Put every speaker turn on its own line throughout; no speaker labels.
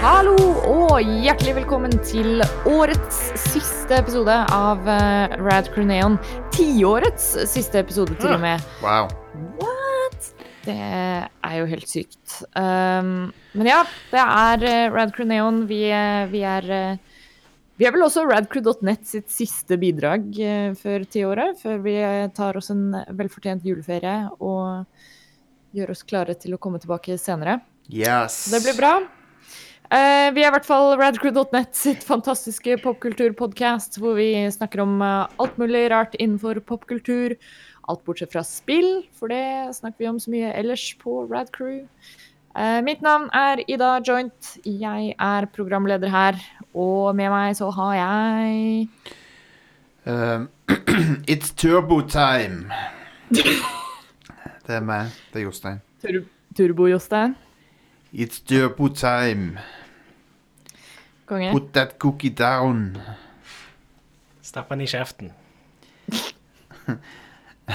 Hallo og hjertelig velkommen til årets siste episode av eh, Rad Crew Neon. Tiårets siste episode, til og med.
Wow.
Det er jo helt sykt. Um, men ja, det er eh, Rad Crew Neon. Vi, eh, vi er eh, Vi er vel også radcrew.net sitt siste bidrag eh, før tiåret. Før vi eh, tar oss en velfortjent juleferie og gjør oss klare til å komme tilbake senere.
Yes.
Så det blir bra. Eh, vi er i hvert fall radcrew.net sitt fantastiske popkulturpodkast, hvor vi snakker om eh, alt mulig rart innenfor popkultur. Alt bortsett fra spill, for det snakker vi om så mye ellers på Radcrew. Eh, mitt navn er Ida Joint. Jeg er programleder her. Og med meg så har jeg
Um, it's turbo time. det er meg. Det er Jostein.
Tur Turbo-Jostein.
It's turbo time.
Konge.
Put that cookie down.
Stapp den i kjeften.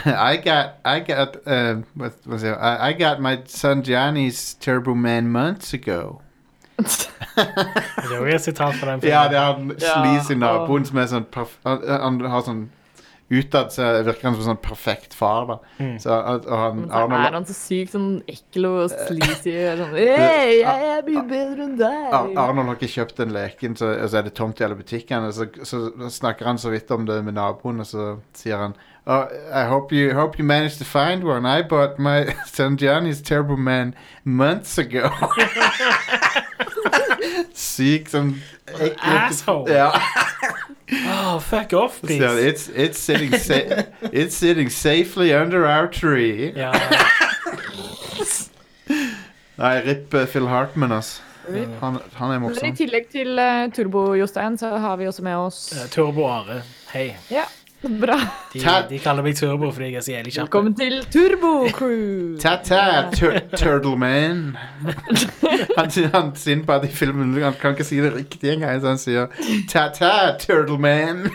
I got, I got, uh, what was it? I, I got my son Johnny's Turbo Man months ago.
Det er jo et sitat fra den
Ja,
filmen.
det er han sleazy
og-
naboen som er sånn perf han, han har sånn Utad så virker han som sånn perfekt far, da. Så, og, og han,
Men så er
Arnold,
Mm. han så sykt sånn ekkel og sleazy. og Sånn, «Hey, jeg er mye bedre enn
Ar
deg!
Arnold har ikke kjøpt den leken, så, og så er det tomt i alle butikkene. Så, så snakker han så vidt om det med naboen, og så sier han oh, I hope you, hope you managed to find one. I bought my son Johnny's Turbo Man months ago. Syk som
Asshole!
Ja.
Åh, fuck off,
Så sier han,
please!
it's, it's, sitting sa it's sitting safely under our tree.
Ja,
Nei, ripp eh, Phil Hartman, altså. Han, han
Men
er
I
morsom.
tillegg til eh, Turbo-Jostein, så har vi også med oss
eh, Turbo Are. Hei.
Ja, bra.
De,
Ta-
de kaller meg Turbo fordi jeg er så jævlig kjapp.
Velkommen til Turbo-crew!
Ta-ta, tur Turtle Man. Han, han Sinbad i filmen han kan ikke si det riktig engang, så han sier ta-ta, Turtle Man.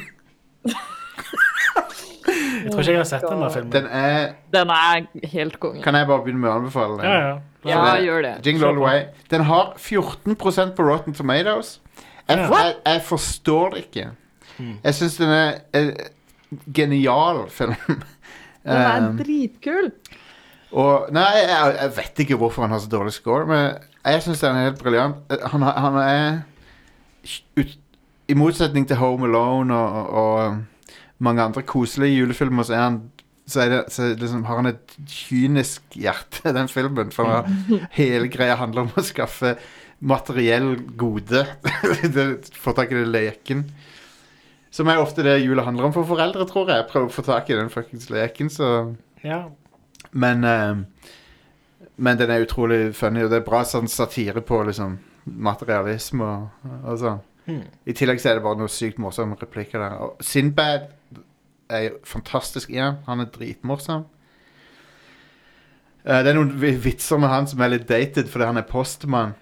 Jeg tror ikke jeg har sett denne filmen.
Den er
Den er helt konge.
Kan jeg bare begynne med å anbefale den?
Ja, ja.
Ja,
Så det-
gjør det.
Jingle all the way. Den har 14 på Rotten Tomatoes. Jeg,
Ja. Mm.
jeg, jeg forstår det ikke. Jeg syns den er eh, genial film.
Den er
Um,
dritkul.
Og, nei, jeg, jeg vet ikke hvorfor han har så dårlig score, men jeg syns den er helt briljant. Eh, Han, har- han er ut, I motsetning til Home Alone og, og, og mange andre koselige julefilmer, så, er han, så, er det, så liksom, har han et kynisk hjerte, i den filmen. For han har, hele greia handler om å skaffe materiell gode. Det- få tak i den leken. Som er ofte det jula handler om for foreldre, tror jeg. Prøve å få tak i den fuckings leken, så
Ja.
men, eh, men den er utrolig funny, og det er bra sånn satire på liksom, materialisme og, og sånn.
Mm.
I tillegg så er det bare noen sykt morsomme replikker der. Og Sinbad er jo fantastisk igjen. Han er dritmorsom. Eh, det er noen vi- vitser med han som er litt dated fordi han er postmann.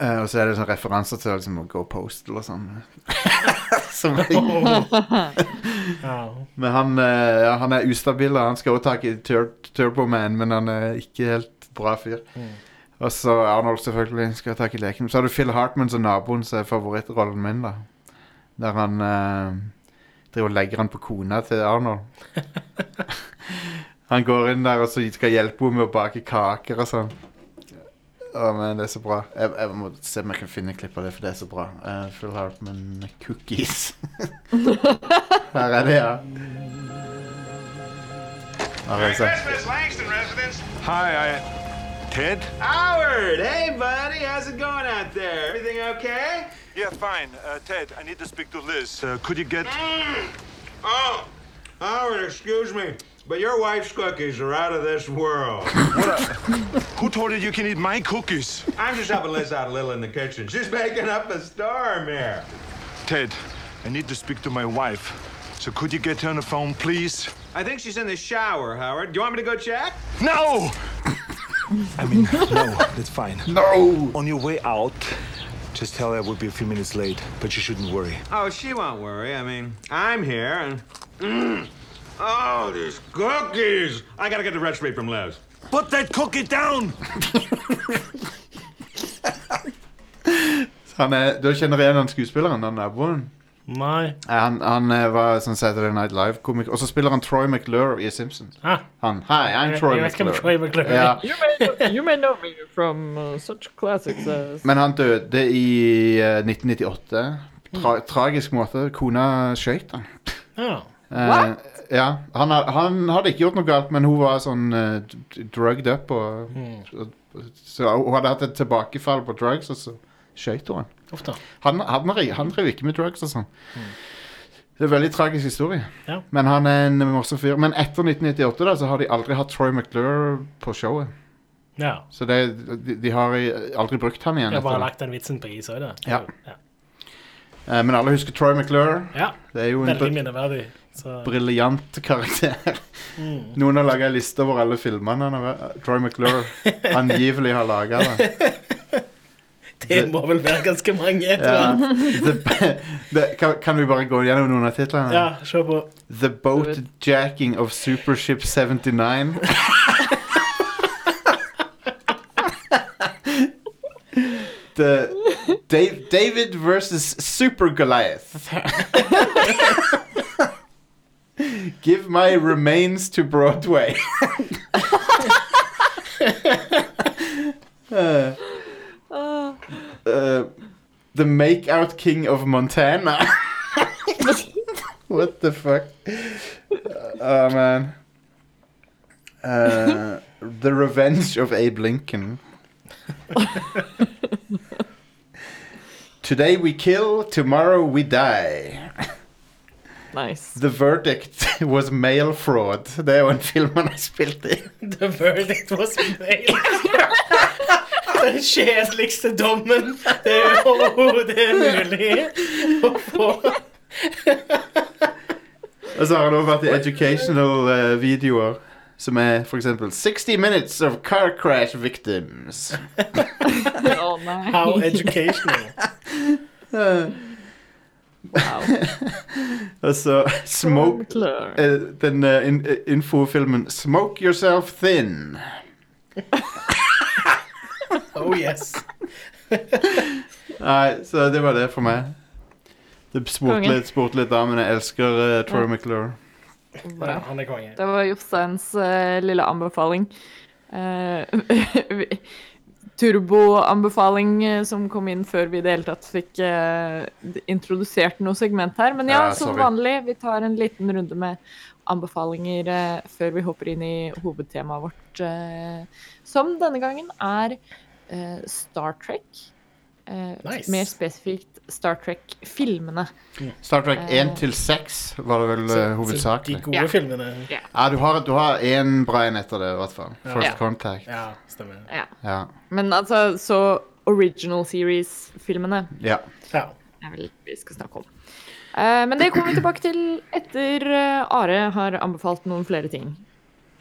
Eh, og så er det sånne referanser til liksom, å gå postal og sånn. som er
ja.
men han, eh, ja, han er ustabil, og han skal også tak i tur Turboman, men han er ikke helt bra fyr.
Mm.
Og så Arnold selvfølgelig skal ta tak i leken. Så har du Phil Hartman som naboen, som er favorittrollen min, da. Der han eh, driver og legger han på kona til Arnold. han går inn der og så skal hjelpe henne med å bake kaker og sånn. Å, men det er så bra. Jeg, jeg må se om jeg kan finne et klipp av det, for det er så bra. Eh, Phil Hartman cookies. Her er det, ja. Her er det. så.
Christmas, Langston residence.
Hi, I. Ted?
Howard, hey buddy, how's it going out there? Everything okay?
Yeah, fine. Uh, Ted, I need to speak to Liz. Uh, could you get.
Oh, Howard, excuse me, but your wife's cookies are out of this world.
Who told you you can eat my cookies?
I'm just helping Liz out a little in the kitchen. She's making up a storm here.
Ted, I need to speak to my wife. So could you get her on the phone, please?
I think she's in the shower, Howard. Do you want me to go check?
No! I mean, no, that's fine.
No!
On your way out, just tell her we'll be a few minutes late, but you shouldn't worry.
Oh, she won't worry. I mean, I'm here and. Mm. Oh, these cookies! I gotta get the recipe from Liz.
Put that cookie down!
Han er, du kjenner igjen han skuespilleren, han naboen?
Nei.
Eh, Han, han eh, var sånn Saturday Night Live-komiker. Og så spiller han Troy McClure i Simpsons.
Ah,
Han, Hi, I'm
jeg,
Troy
jeg vet ikke om
McClure.
Troy McClure
Ja,
You may, know, you may know me from uh, such classics as
men han døde i eh, 1998. Tra
Mm.
tragisk måte. Kona skøyt han.
Ja.
Eh,
What?
ja, han, had- han hadde ikke gjort noe galt, men hun var sånn eh, d- d- drugged up. Og,
Mm.
så hun hadde hatt et tilbakefall på drugs, og så skøyt hun han.
Uff da.
Han, han, dri- han driver ikke med drugs og sånn. Det er en veldig tragisk historie.
Ja.
Men han er en morsom fyr. Men etter 1998 da, så har de aldri hatt Troy McClure på showet.
Ja.
Så det, de, de har i- aldri brukt han igjen.
Jeg har bare
Etter det.
lagt den vitsen på is òg, da.
Ja.
Ja.
Eh, Men alle husker Troy McClure.
ja.
Det er jo en
Veldig
br-
minneverdig. Så
briljant karakter.
mm.
Noen har laga en liste over alle filmene han har vært- eh, Troy McClure angivelig har laga.
Det må vel være ganske mange. Ja.
Kan, kan vi bare gå gjennom noen av titlene?
ja, se på.
The Boat Jacking of Supership 79. The Dave, David versus Super Goliath. Give my remains to Broadway. Uh,
Ah.
uh, the Makeout King of Montana. What the fuck? Oh man. Uh, the Revenge of Abe Lincoln. Today we kill, tomorrow we die.
Nice.
The verdict was mail fraud. Det er jo en film han har spilt i.
The verdict was made. Den kjedeligste dommen det er overhodet er mulig å få.
Og så har han også vært i educational eh, videoer, som er for eksempel 60 minutes of car crash victims.
Å nei.
How educational.
Eh,
Wow.
Og så smoke
Klar.
Eh, den eh, in, eh, infofilmen Smoke Yourself Thin.
Oh yes.
Nei, så det var det for meg. Det spurte
Konge.
litt, spurte litt da, men jeg elsker eh, Troy McClure.
Ja,
Bra.
han er konge.
Det var Josteins eh, lille anbefaling. Eh, Turbo-anbefaling eh, som kom inn før vi i det hele tatt fikk eh, d- introdusert noe segment her. Men ja,
Ja,
som
sorry.
vanlig, vi tar en liten runde med anbefalinger eh, før vi hopper inn i hovedtemaet vårt, eh, som denne gangen er eh, Star Trek. Eh,
Nice.
Mer spesifikt Star Trek-filmene.
Star Trek
Eh.
1 til 6 var det vel eh,
De
hovedsakelig.
gode
Ja.
filmene.
Ja, du har, du har én bra en etter det, i hvert fall.
Ja.
First
Ja.
Contact.
Ja, stemmer.
Ja.
Ja.
Men altså, så original series-filmene
ja.
Ja.
er vel vi skal snakke om. Eh, men det kommer vi tilbake til etter eh, Are har anbefalt noen flere ting.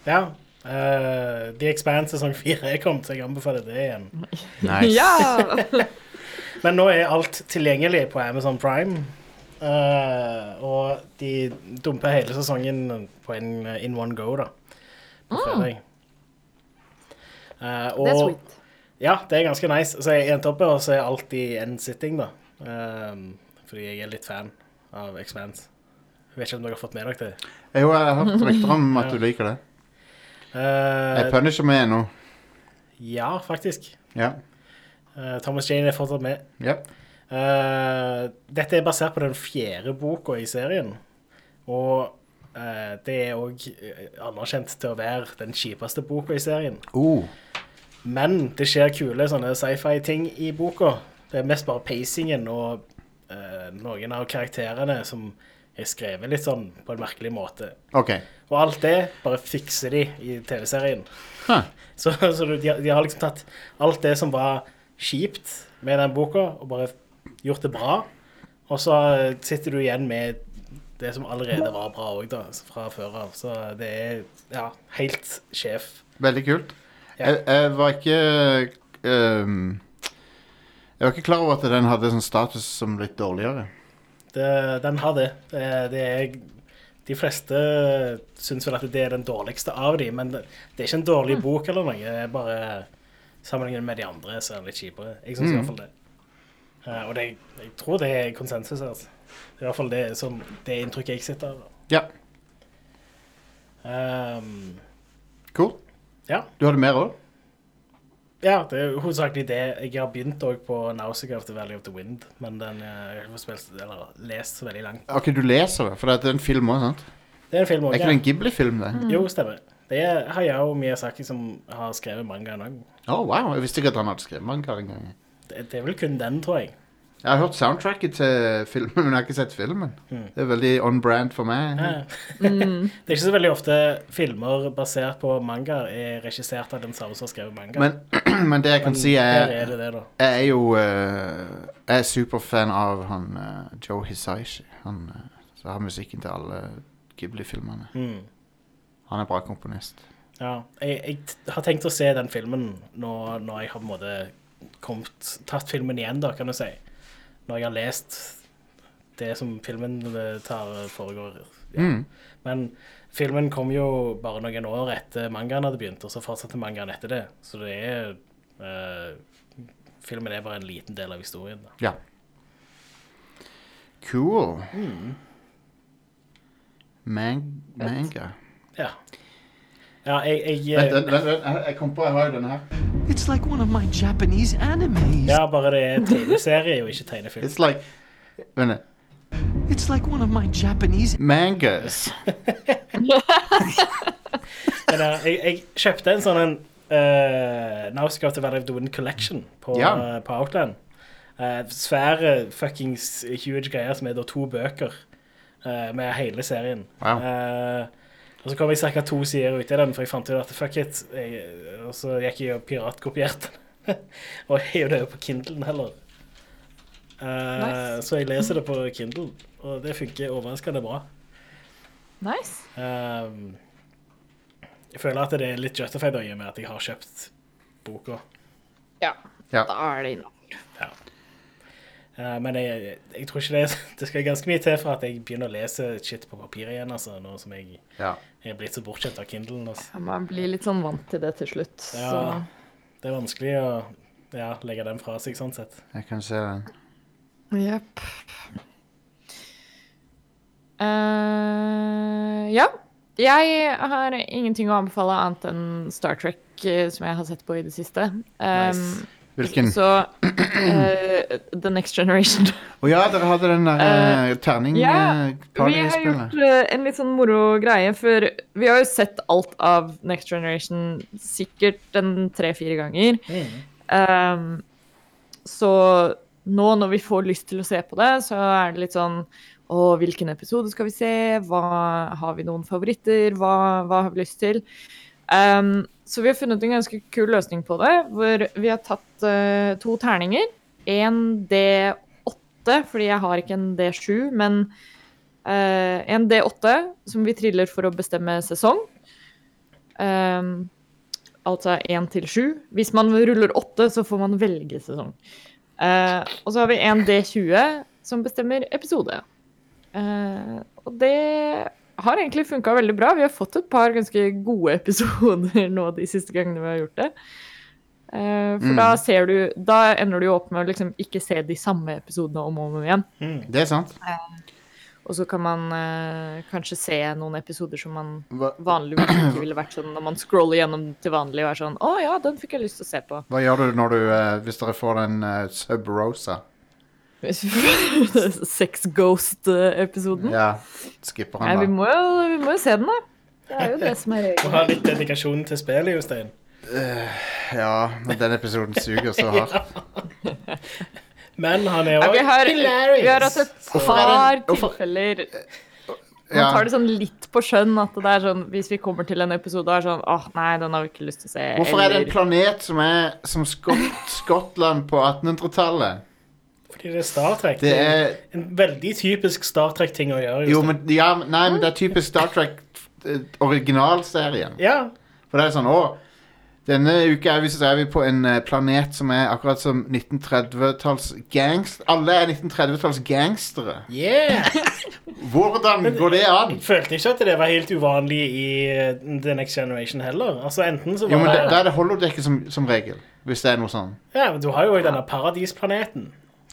ja. Eh, The Expanse sesong fire er kommet, så jeg anbefaler det igjen.
Nice.
Ja!
Men nå er alt tilgjengelig på Amazon Prime. Eh, og de dumper hele sesongen på en in one go, da. På fredag. Eh,
Det er
og
sweet.
ja, det er ganske nice. Så jeg endte opp med å se alt i én sitting, da. Eh, fordi jeg er litt fan av Expanse. Jeg vet ikke om dere har fått med dere det.
Jo, jeg har hørt rykter om at du liker det. Jeg
Eh,
punisher meg ennå.
ja, faktisk.
Ja.
Eh, Thomas Jane er fortsatt med.
ja.
Eh, dette er basert på den fjerde boka i serien. Og eh, det er òg anerkjent til å være den kjipeste boka i serien.
Oh.
Men det skjer kule sånne sci-fi-ting i boka. Det er mest bare pacingen og eh, noen av karakterene som er skrevet litt sånn på en merkelig måte.
OK.
Og alt det bare fikser de i TV-serien.
Huh.
Så, så du- de, har- de har liksom tatt alt det som var kjipt med den boka, og bare gjort det bra. Og så eh, sitter du igjen med det som allerede var bra òg, da, så fra før av. Så det er ja, helt sjef.
Veldig kult.
Ja.
Jeg, jeg var ikke ehm, Jeg var ikke klar over at den hadde sånn status som litt dårligere.
Det, den har det. det, er- det er, de fleste syns vel at det er den dårligste av de, men det, det er ikke en dårlig bok eller noe. Det er bare sammenlignet med de andre så er den litt kjipere. Jeg syns i hvert fall det. Eh, og det, jeg tror det er konsensus her. Altså. Det er i hvert fall det, som, det inntrykket jeg sitter av.
Ja,
Ehm,
cool.
ja.
Du hadde mer òg?
ja, det er jo hovedsakelig det. Jeg har begynt òg på Nausicaa of the Valley of the Wind, men den eh, jeg har ikke fått spilt, eller lest så veldig langt.
Ok, du leser det, for det er en film òg, sant?
Det er en film
Er
òg.
ikke det en Ghibli-film, det?
Jo, stemmer. Det er Hayao Miyazaki som liksom, har skrevet mangaen òg.
Å, wow, jeg visste ikke at han hadde skrevet manga engang.
Det, det er vel kun den, tror jeg.
Jeg har hørt soundtracket til filmen, men jeg har ikke sett filmen. Det er veldig on brand for meg.
Eh, det er ikke så veldig ofte filmer basert på mangaer er regissert av den samme som har skrevet manga.
Men, men det jeg kan si,
her
er
er det det, da.
Jeg er jo eh, Jeg er superfan av han eh, Joe Hisaishi. Han eh, som har musikken til alle Ghibli-filmene.
Mm.
Han er bra komponist.
Ja, jeg, jeg t- har tenkt å se den filmen når, når jeg har på en måte kommet, tatt filmen igjen, da, kan du si. Når jeg har lest det som filmen eh, tar foregår. Ja.
Mm.
Men filmen kom jo bare noen år etter mangaen hadde begynt, og så fortsatte mangaen etter det. Så det er eh, Filmen er bare en liten del av historien. da.
Ja. Cool. Man manga.
Ja. Ja, jeg, jeg
Vent, vent, vent, vent, jeg- jeg kom på, jeg har jo denne her.
It's like one of my Japanese animes.
eh, Ja, bare det er tegneserie og ikke tegnefilm.
It's like Vent litt.
It's like one of my Japanese.
Mangas.
Men eh, jeg, jeg kjøpte en sånn en uh, Nausicaa of the Valley of the Wind Collection på,
Ja.
eh, på Outland. Eh, svære fuckings huge greier som er da to bøker eh, med hele serien.
Wow.
Eh, og så kom jeg ca. to sider ut i den, for jeg fant ut at fuck it. Jeg, og så gikk jeg og piratkopierte den. og heiv det over på Kindlen heller. Eh,
Nice.
Så jeg leser det på Kindle, og det funker overraskende bra.
Nice.
Ehm, jeg føler at det er litt justified da, i og med at jeg har kjøpt boka.
Ja,
Ja.
da er det innom.
Ja. Eh, men jeg, jeg tror ikke det er Det skal ganske mye til for at jeg begynner å lese shit på papir igjen, altså, nå som jeg
Ja.
er blitt så bortskjemt av Kindlen. Altså.
Man blir litt sånn vant til det til slutt. Så.
Ja. Det er vanskelig å ja, legge den fra seg, sånn sett.
Jeg kan se den.
Jepp. Eh, ja. Jeg har ingenting å anbefale annet enn Star Trek, eh, som jeg har sett på i det siste. Um,
Nice.
Hvilken? Å
Så eh, The Next Generation.
ja, dere hadde den der uh,
ja, Vi har gjort
terning-partyspillet.
eh, en litt sånn moro greie, for vi har jo sett alt av Next Generation sikkert en tre-fire ganger. Ehm, så nå når vi får lyst til å se på det, så er det litt sånn Å, hvilken episode skal vi se? Hva, har vi noen favoritter? Hva, hva har vi lyst til? Ehm, så vi har funnet en ganske kul løsning på det, hvor vi har tatt eh, to terninger. En D8, fordi jeg har ikke en D7, men eh, en D8 som vi triller for å bestemme sesong. Ehm, altså én til sju. Hvis man ruller åtte, så får man velge sesong. Eh, og så har vi en D20 som bestemmer episode. Eh, og det har egentlig funka veldig bra. Vi har fått et par ganske gode episoder nå de siste gangene vi har gjort det. Eh, for da ser du Da ender du jo opp med å liksom ikke se de samme episodene om og om igjen.
Det er sant.
Og så kan man eh, kanskje se noen episoder som man
Hva,
vanligvis ikke ville vært sånn når man scroller gjennom til vanlig og er sånn Å ja, den fikk jeg lyst til å se på.
hva gjør du når du, eh, hvis dere får den eh, Sub Rosa?
Sex Ghost-episoden.
Ja, skipper
Mm. Nei, vi
han da?
må, jo, vi må jo se den, da. Det er jo det som er
Du
regelen.
har litt dedikasjon til spillet, Jostein.
Ja, men den episoden suger så hardt.
Men han er
Ja,
òg
vi, har, vi har hatt et
Så-
par
hvorfor-
tilfeller Man
Ja.
tar det sånn litt på skjønn at det er sånn Hvis vi kommer til en episode og er sånn Åh, nei, den har vi ikke lyst til å se.
Hvorfor er det en
eller-
planet som er som Skott, Skottland på 1800-tallet?
Fordi det er Star Trek.
Det er
En veldig typisk Star Trek-ting å gjøre.
Jo,
Jostein.
men, ja, men- nei, men det er typisk Star Trek eh, originalserien.
Ja,
For det er sånn, å, denne uka er vi, så er vi på en eh, planet som er akkurat som 1930-talls gangst... Alle er 1930-talls gangstere.
Yeah!
Hvordan går det an?
Jeg følte ikke at det var helt uvanlig i eh, The Next Generation heller. Altså enten så var
Jo, men da
det,
da er det holodekket som, som regel, hvis det er noe sånn.
Ja, men Du har jo også denne paradisplaneten.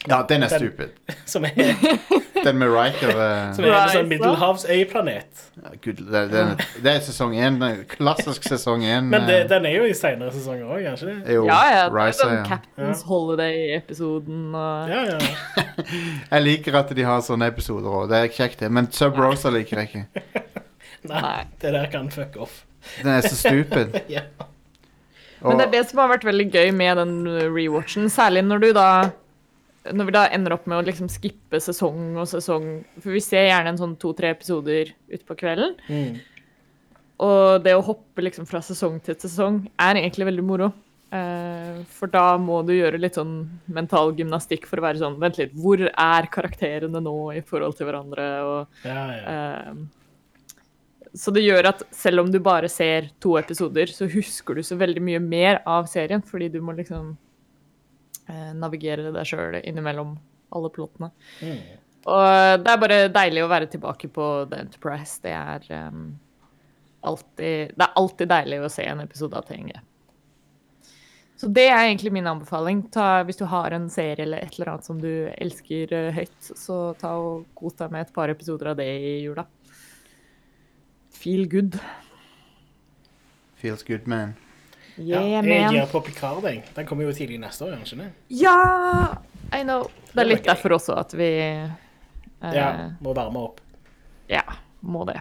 Ja, den er
Den-
stupid.
Som er,
Den med Riker eh,
som er en
Right,
sånn middelhavsøyplanet.
Gud, det, den, det er sesong én. den Klassisk sesong én.
Men det,
eh,
den er jo i senere sesonger òg, kanskje? det?
jo,
Ja, ja. Det er sånn
Riser,
jo den
ja.
Captain's Holiday-episoden og
Ja, ja.
Jeg liker at de har sånne episoder òg. Det er kjekt, det. Men Sub Rosa liker jeg ikke.
Nei,
Nei.
det der kan fuck off.
Den er så stupid.
Ja.
Men
Og,
det er det som har vært veldig gøy med den eh, rewatchen, særlig når du da når vi da ender opp med å liksom skippe sesong og sesong For vi ser gjerne en sånn to-tre episoder utpå kvelden.
Mm.
Og det å hoppe liksom fra sesong til sesong er egentlig veldig moro. Eh, for da må du gjøre litt sånn mental gymnastikk for å være sånn Vent litt, hvor er karakterene nå i forhold til hverandre? og
Ja, ja.
Ehm, Så det gjør at selv om du bare ser to episoder, så husker du så veldig mye mer av serien, fordi du må liksom eh, navigere deg sjøl innimellom alle plottene. Og det er bare deilig å være tilbake på The Enterprise. Det er ehm, alltid Det er alltid deilig å se en episode av TNG. Så det er egentlig min anbefaling. Ta, hvis du har en serie eller et eller annet som du elsker eh, høyt, så ta og kos deg med et par episoder av det i jula. Feel good.
Feels good, man.
Ja,
Yeah,
jeg
man.
gir på Picard, jeg. Den kommer jo tidlig neste år, kanskje? det?
Ja! I know. Det er
var
litt
gøy.
derfor også at vi eh,
Ja, må varme opp.
Ja, må det.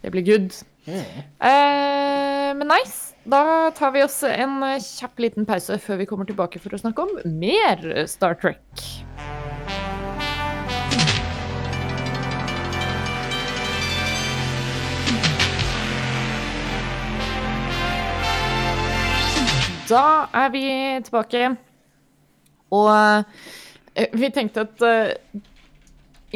Det blir good. Eh, men nice. Da tar vi oss en eh, kjapp liten pause før vi kommer tilbake for å snakke om mer eh, Star Trek. Da er vi tilbake, og eh, vi tenkte at eh,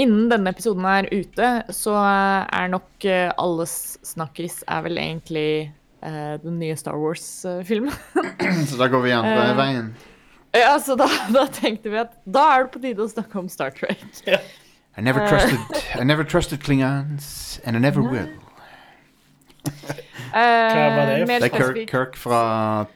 Innen denne episoden er ute, så eh, er nok eh, alles snakkis er vel egentlig eh, den nye Star Wars-filmen.
Så da går vi andre
Eh.
veien.
ja, så da, da tenkte vi at da er det på tide å snakke om Star Trek.
I never
Eh.
trusted, I never trusted Klingons, and I never will.
Eh,
var det?
mer
Det er Kirk,
spesifikt-
Kirk fra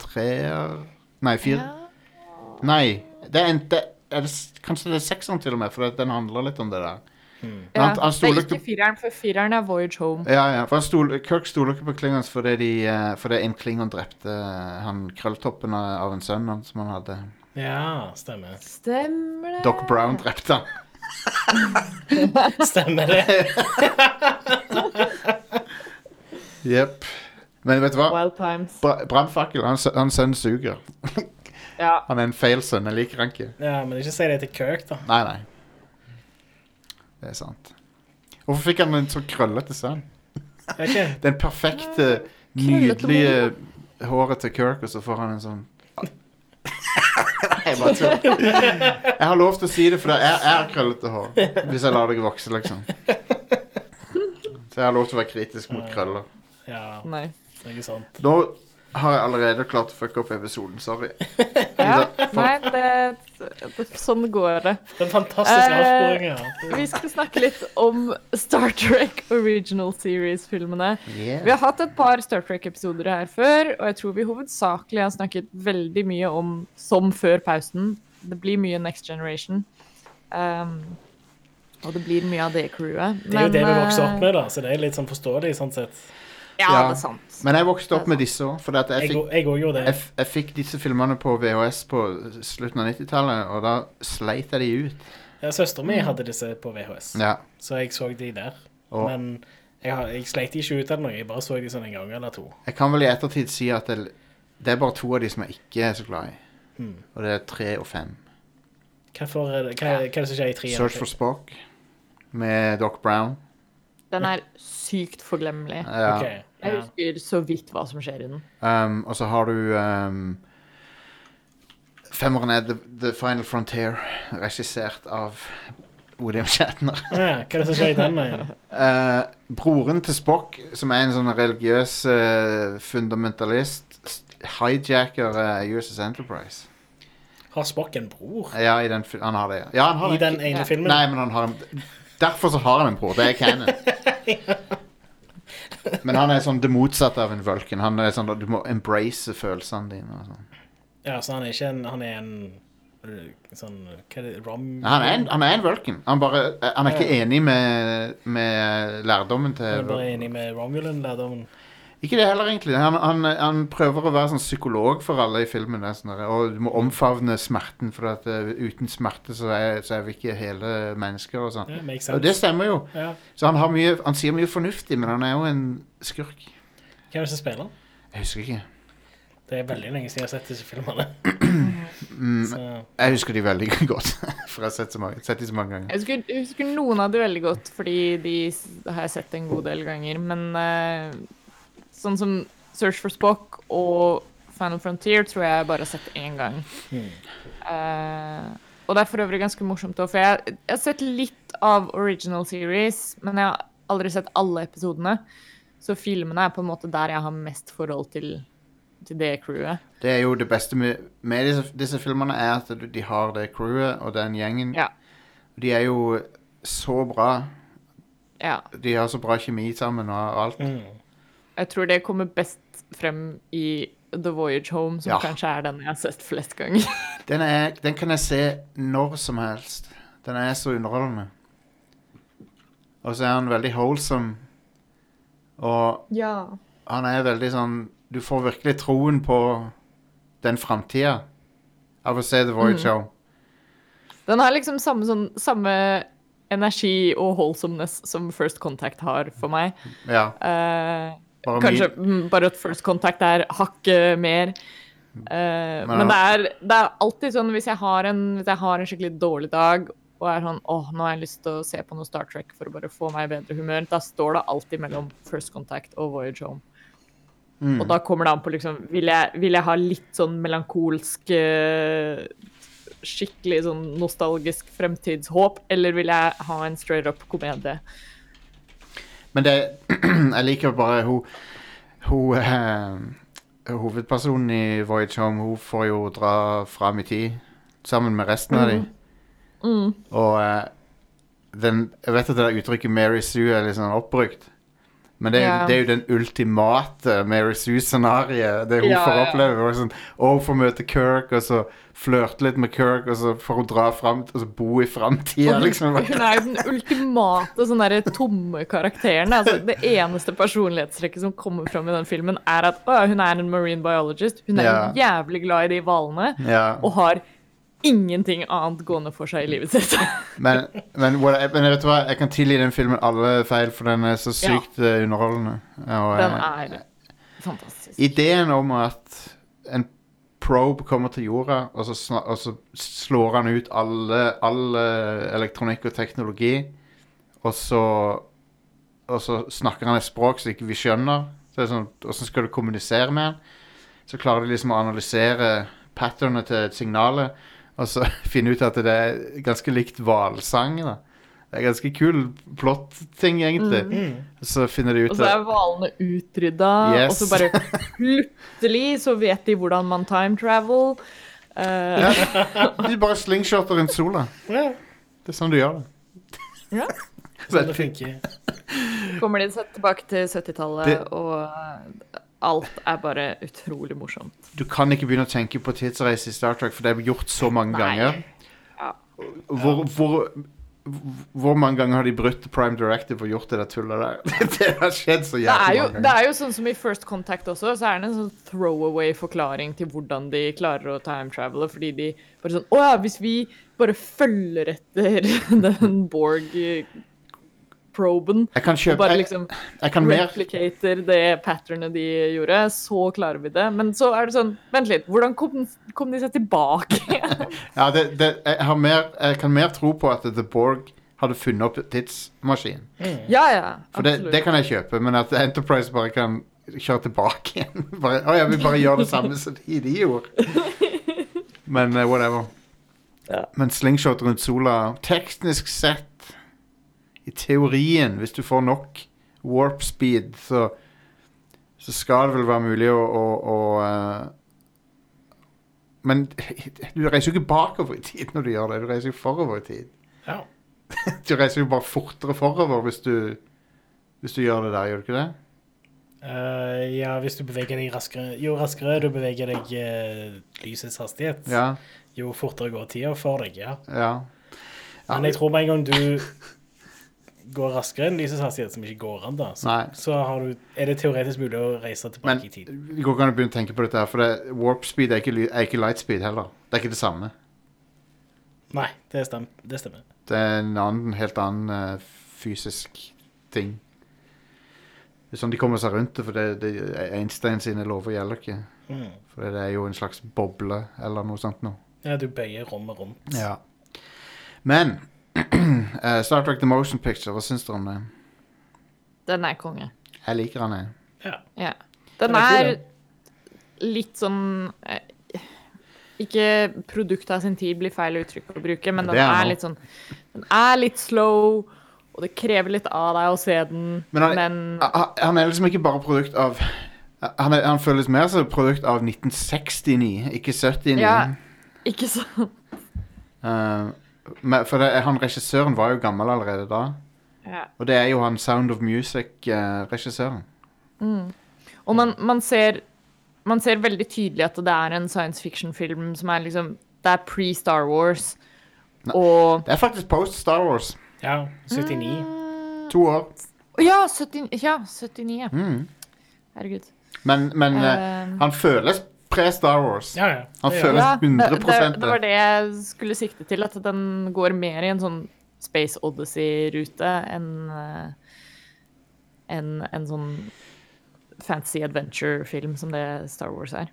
treer Nei, fire.
Ja.
Nei, det er en det, er det, s- Kanskje det er sekseren til og med, for det- den handler litt om det der. Men
Hmm. Ja.
han, han
Det er
stoler
ikke
ikke
fireren, for fireren er Voyage Home.
ja, ja, for han stol, Kirk stoler ikke på Klingons fordi, de, eh, fordi en Klingon drepte eh, han krølltoppen av av en sønn han, som han hadde.
Ja, stemmer.
Stemmer det?
Doc Brown drepte han.
Stemmer det.
Jepp. Men vet du hva?
Wild Times.
Bra- Brannfakkel, han, sø- han sønnen suger.
Ja.
Han er en feil sønn, jeg liker han ikke.
Ja, Men ikke si det til Kirk, da.
Nei, nei. Det er sant. Hvorfor fikk han en så krøllete sønn?
Vet ikke.
Den perfekte,
krøllete
eh, nydelige håret til Kirk, og så får han en sånn Jeg bare tuller. Jeg har lov til å si det, for det er, er krøllete hår. Hvis jeg lar det vokse, liksom. Så jeg har lov til å være kritisk mot krøller.
Ja,
Nei.
noe sånt.
Nå har jeg allerede klart å fucke opp episoden. Sorry.
Ja. Nei, det, det, sånn går det.
Den fantastiske
Eh,
avsporingen.
Vi skal snakke litt om Star Trek Original Series-filmene. Vi har hatt et par Star Trek-episoder her før, og jeg tror vi hovedsakelig har snakket veldig mye om som før pausen. Det blir mye Next Generation. Um, og det blir mye av det crewet.
Det er jo det vi vokser opp
eh,
med, da, så det er litt sånn forståelig sånn sett.
Ja,
Ja.
det er sant.
Men jeg vokste opp med disse òg, for at jeg
Jeg
fikk
òg- jeg òg gjorde
jeg,
det.
f- jeg fikk disse filmene på VHS på slutten av 90-tallet, og da sleit jeg de ut.
Ja, Søsteren
Mm.
min hadde disse på VHS,
Ja.
så jeg så de der.
Og
Men jeg, har- jeg sleit ikke ut av noe, jeg bare så de sånn en gang eller to.
jeg kan vel i ettertid si at det, det er bare to av de som jeg ikke er så glad i. Og det er tre og fem.
Hva, for, hva, hva er det som skjer i tre? eller
Search for Spock med Doc Brown.
Den er sykt forglemmelig.
Ja.
Ok,
Jeg
ja.
husker så vidt hva som skjer i den.
Um, og så har du um, Femmeren er The, The Final Frontier, regissert av William Shatner.
ja, hva er det som skjer i den? da?
Eh, broren til Spock, som er en sånn religiøs eh, fundamentalist, s- hijacker eh, USS Enterprise.
Har Spock en bror?
Ja, i den, fi- han har det. ja. Ja, han har
I
det.
den ene
Ja.
filmen?
Nei, men han har en Derfor så har han en bror. Det er canon. Men han er sånn det motsatte av en vulkan. Han er sånn at Du må embrace følelsene dine. Og sånn.
Ja, så han er ikke en Han er en eh, sånn Hva er det? Rom...
Han er en, han er en Vulcan. Han, bare, eh, han er ikke enig med, med lærdommen
Jeg
til
er bare enig med Romulan-lærdommen.
Ikke det heller, egentlig. Han, han, han prøver å være sånn psykolog for alle i filmen. det er Sånn, der, og du må omfavne smerten, for at, eh, uten smerte så er, så er vi ikke hele mennesker. Og sånn.
Ja, makes
Og det
sense.
stemmer jo.
Ja.
Så han, har mye, han sier mye fornuftig, men han er jo en skurk.
Hvem er det som spiller den?
Jeg husker ikke.
Det er veldig lenge siden jeg har sett disse filmene.
Mm.
Så,
Jeg husker de veldig godt, for jeg har sett, så mange, sett de så mange ganger.
Jeg husker, jeg husker noen av de veldig godt, fordi de s- har jeg sett en god del ganger. Men eh, sånn som Search for Spock og Final Frontier tror jeg bare har sett én gang. Eh, og det er for øvrig ganske morsomt òg, for jeg, jeg har sett litt av original series, men jeg har aldri sett alle episodene. Så filmene er på en måte der jeg har mest forhold til, til det crewet.
Det er jo det beste med, med disse, disse filmene, er at du- de har det crewet og den gjengen.
Ja.
De er jo så bra.
Ja.
De har så bra kjemi sammen og og alt.
Jeg tror det kommer best frem i The Voyage Home, som
Ja.
kanskje er den jeg har sett flest ganger.
Den, er, den kan jeg se når som helst. Den er så underholdende. Og så er han veldig wholesome. Og
Ja.
han er veldig sånn Du får virkelig troen på den framtida av å se The
Mm.
Voyage Home.
Den har liksom samme, sånn, samme energi og wholesomeness som First Contact har for meg.
Ja,
Eh,
bare
kanskje
mye-
mm, bare at First Contact er hakket mer. Eh,
Men-
men det er, det er alltid sånn hvis jeg, har en, hvis jeg har en skikkelig dårlig dag og er sånn åh, nå har jeg lyst til å se på noe Star Trek for å bare få meg i bedre humør, da står det alltid mellom First Contact og Voyage Home.
Mm.
Og da kommer det an på liksom Vil jeg, vil jeg ha litt sånn melankolsk eh, Skikkelig sånn nostalgisk fremtidshåp, eller vil jeg ha en straight up komedie?
Men det Jeg liker bare hun Hun eh, Hovedpersonen i Voyage Home Hun får jo dra fram i tid Sammen med resten av dem
Mm.
Og eh, den, Jeg vet at det der uttrykket Mary Sue er litt sånn oppbrukt men det er, jo,
Ja.
det er jo den ultimate Mary Sue-scenariet Det hun
Ja,
får
ja.
oppleve hvor det er sånn, Og hun får møte Kirk Og så flørte litt med Kirk Og så får hun dra frem Og så bo i fremtiden liksom.
Hun er jo den ultimate sånn derre tomme karakteren. Altså, det eneste personlighetstrekket som kommer fram i den filmen, er at å, ja, hun er en marine biologist. Hun er
Ja.
jævlig glad i de hvalene
ja.
og har ingenting annet gående for seg i livet sitt.
Men, men, what, men vet du hva, jeg kan tilgi den filmen alle feil, for den er så
Ja.
sykt eh, underholdende. Og, eh,
Den er fantastisk.
ideen om at en probe kommer til jorda, og så, sna- og så slår han ut alle, all eh, elektronikk og teknologi, og så, og så snakker han et språk som ikke vi skjønner. Så det er sånn, Åssen skal du kommunisere med han? Så klarer de liksom å analysere patternet til signalet, og så finne ut at det er ganske likt hvalsang. da. Det er ganske kul plott-ting, egentlig. Så finner de ut
Mm. Og så er hvalene utrydda,
Yes.
og så bare plutselig så vet de hvordan man time travel. Eh,
Du bare slingshotter rundt sola.
ja,
Det er sånn du gjør det.
Ja.
Så
det
det-
funker.
kommer de seg tilbake til 70-tallet,
Det-
og eh, alt er bare utrolig morsomt.
du kan ikke begynne å tenke på tidsreise i Star Trek, for det er gjort så mange ganger.
Ja.
Hvor, hvor, hvor mange ganger har de brutt Prime Directive og gjort det der tullet der? Det har skjedd så
Det er,
jævlig
jo,
mange
det
ganger.
er jo sånn som i First Contact også, så er det en sånn throwaway-forklaring til hvordan de klarer å time travele, fordi de bare sånn Å ja, hvis vi bare følger etter den Borg-proben
Jeg kan
og
kjøpe
bare
jeg,
liksom
jeg kan mer
replicater det patternet de gjorde, så klarer vi det. Men så er det sånn Vent litt, hvordan kom, kom de seg tilbake?
Ja, det, det, jeg, har mer, jeg kan mer tro på at The Borg hadde funnet opp tidsmaskinen.
ja, ja.
For det,
absolutt.
det kan jeg kjøpe, men at Enterprise bare kan kjøre tilbake igjen. Bare, «Å ja, vi bare gjør det samme som de, de gjorde. Men eh, whatever. Men slingshot rundt sola Teknisk sett, i teorien, hvis du får nok warp speed, så, så skal det vel være mulig å, å, å eh, Men du reiser jo ikke bakover i tid når du gjør det, du reiser jo forover i tid
Ja.
du reiser jo bare fortere forover hvis du, hvis du gjør det der, gjør du ikke det?
Eh, ja, hvis du beveger deg raskere Jo raskere du beveger deg eh, lysets hastighet,
Ja,
jo fortere går tida for deg, ja.
ja.
Men jeg tror med en gang du går raskere enn lysets hastighet, som ikke går an, da, så,
Nei.
så har du, er det teoretisk mulig å reise tilbake
Men
i tid.
det går ikke an å begynne å tenke på dette her, for det, warp speed er ikke, ly- er ikke light speed heller. Det er ikke det samme.
Nei, det, stem, det stemmer.
Det er en annen, helt annen eh, fysisk ting. Det er sånn de kommer seg rundt det, for det, det, Einstein sine lover gjelder ikke.
Mm.
For det er jo en slags boble eller noe sånt noe.
Ja, du bøyer rommet rundt.
Ja. Men eh, Star Trek The Motion Picture, hva syns dere om det?
Den er konge.
Jeg liker han, jeg.
Ja.
Ja. Den
Den er
er
kul,
litt sånn eh, Ikke produktet av sin tid blir feil uttrykk å bruke, men
Det
den
er han
er
også.
litt sånn Den er litt slow, og det krever litt av deg å se den,
Men han-
men
Han- Han er liksom ikke bare produkt av Han, er, han føles mer som et produkt av 1969, ikke 79.
Ja. ikke sånn.
Eh, men, for det, han regissøren var jo gammel allerede da.
Ja.
Og det er jo han Sound of eh, Music-regissøren.
Og man, man, ser, man ser veldig tydelig at det er en science fiction-film som er liksom Det er pre-Star Wars. Og
det er faktisk post Star Wars.
ja 79.
To år.
Ja, 70, ja 79. Ja.
Mm.
Herregud.
Men, men eh,
Eh,
han føles pre-Star Wars.
Ja, ja.
Han
det gjør
føler-
det.
Ja, det, det,
100%
det var det jeg skulle sikte til, at den går mer i en sånn Space Odyssey-rute enn eh, enn en sånn fancy adventure-film som det Star Wars er.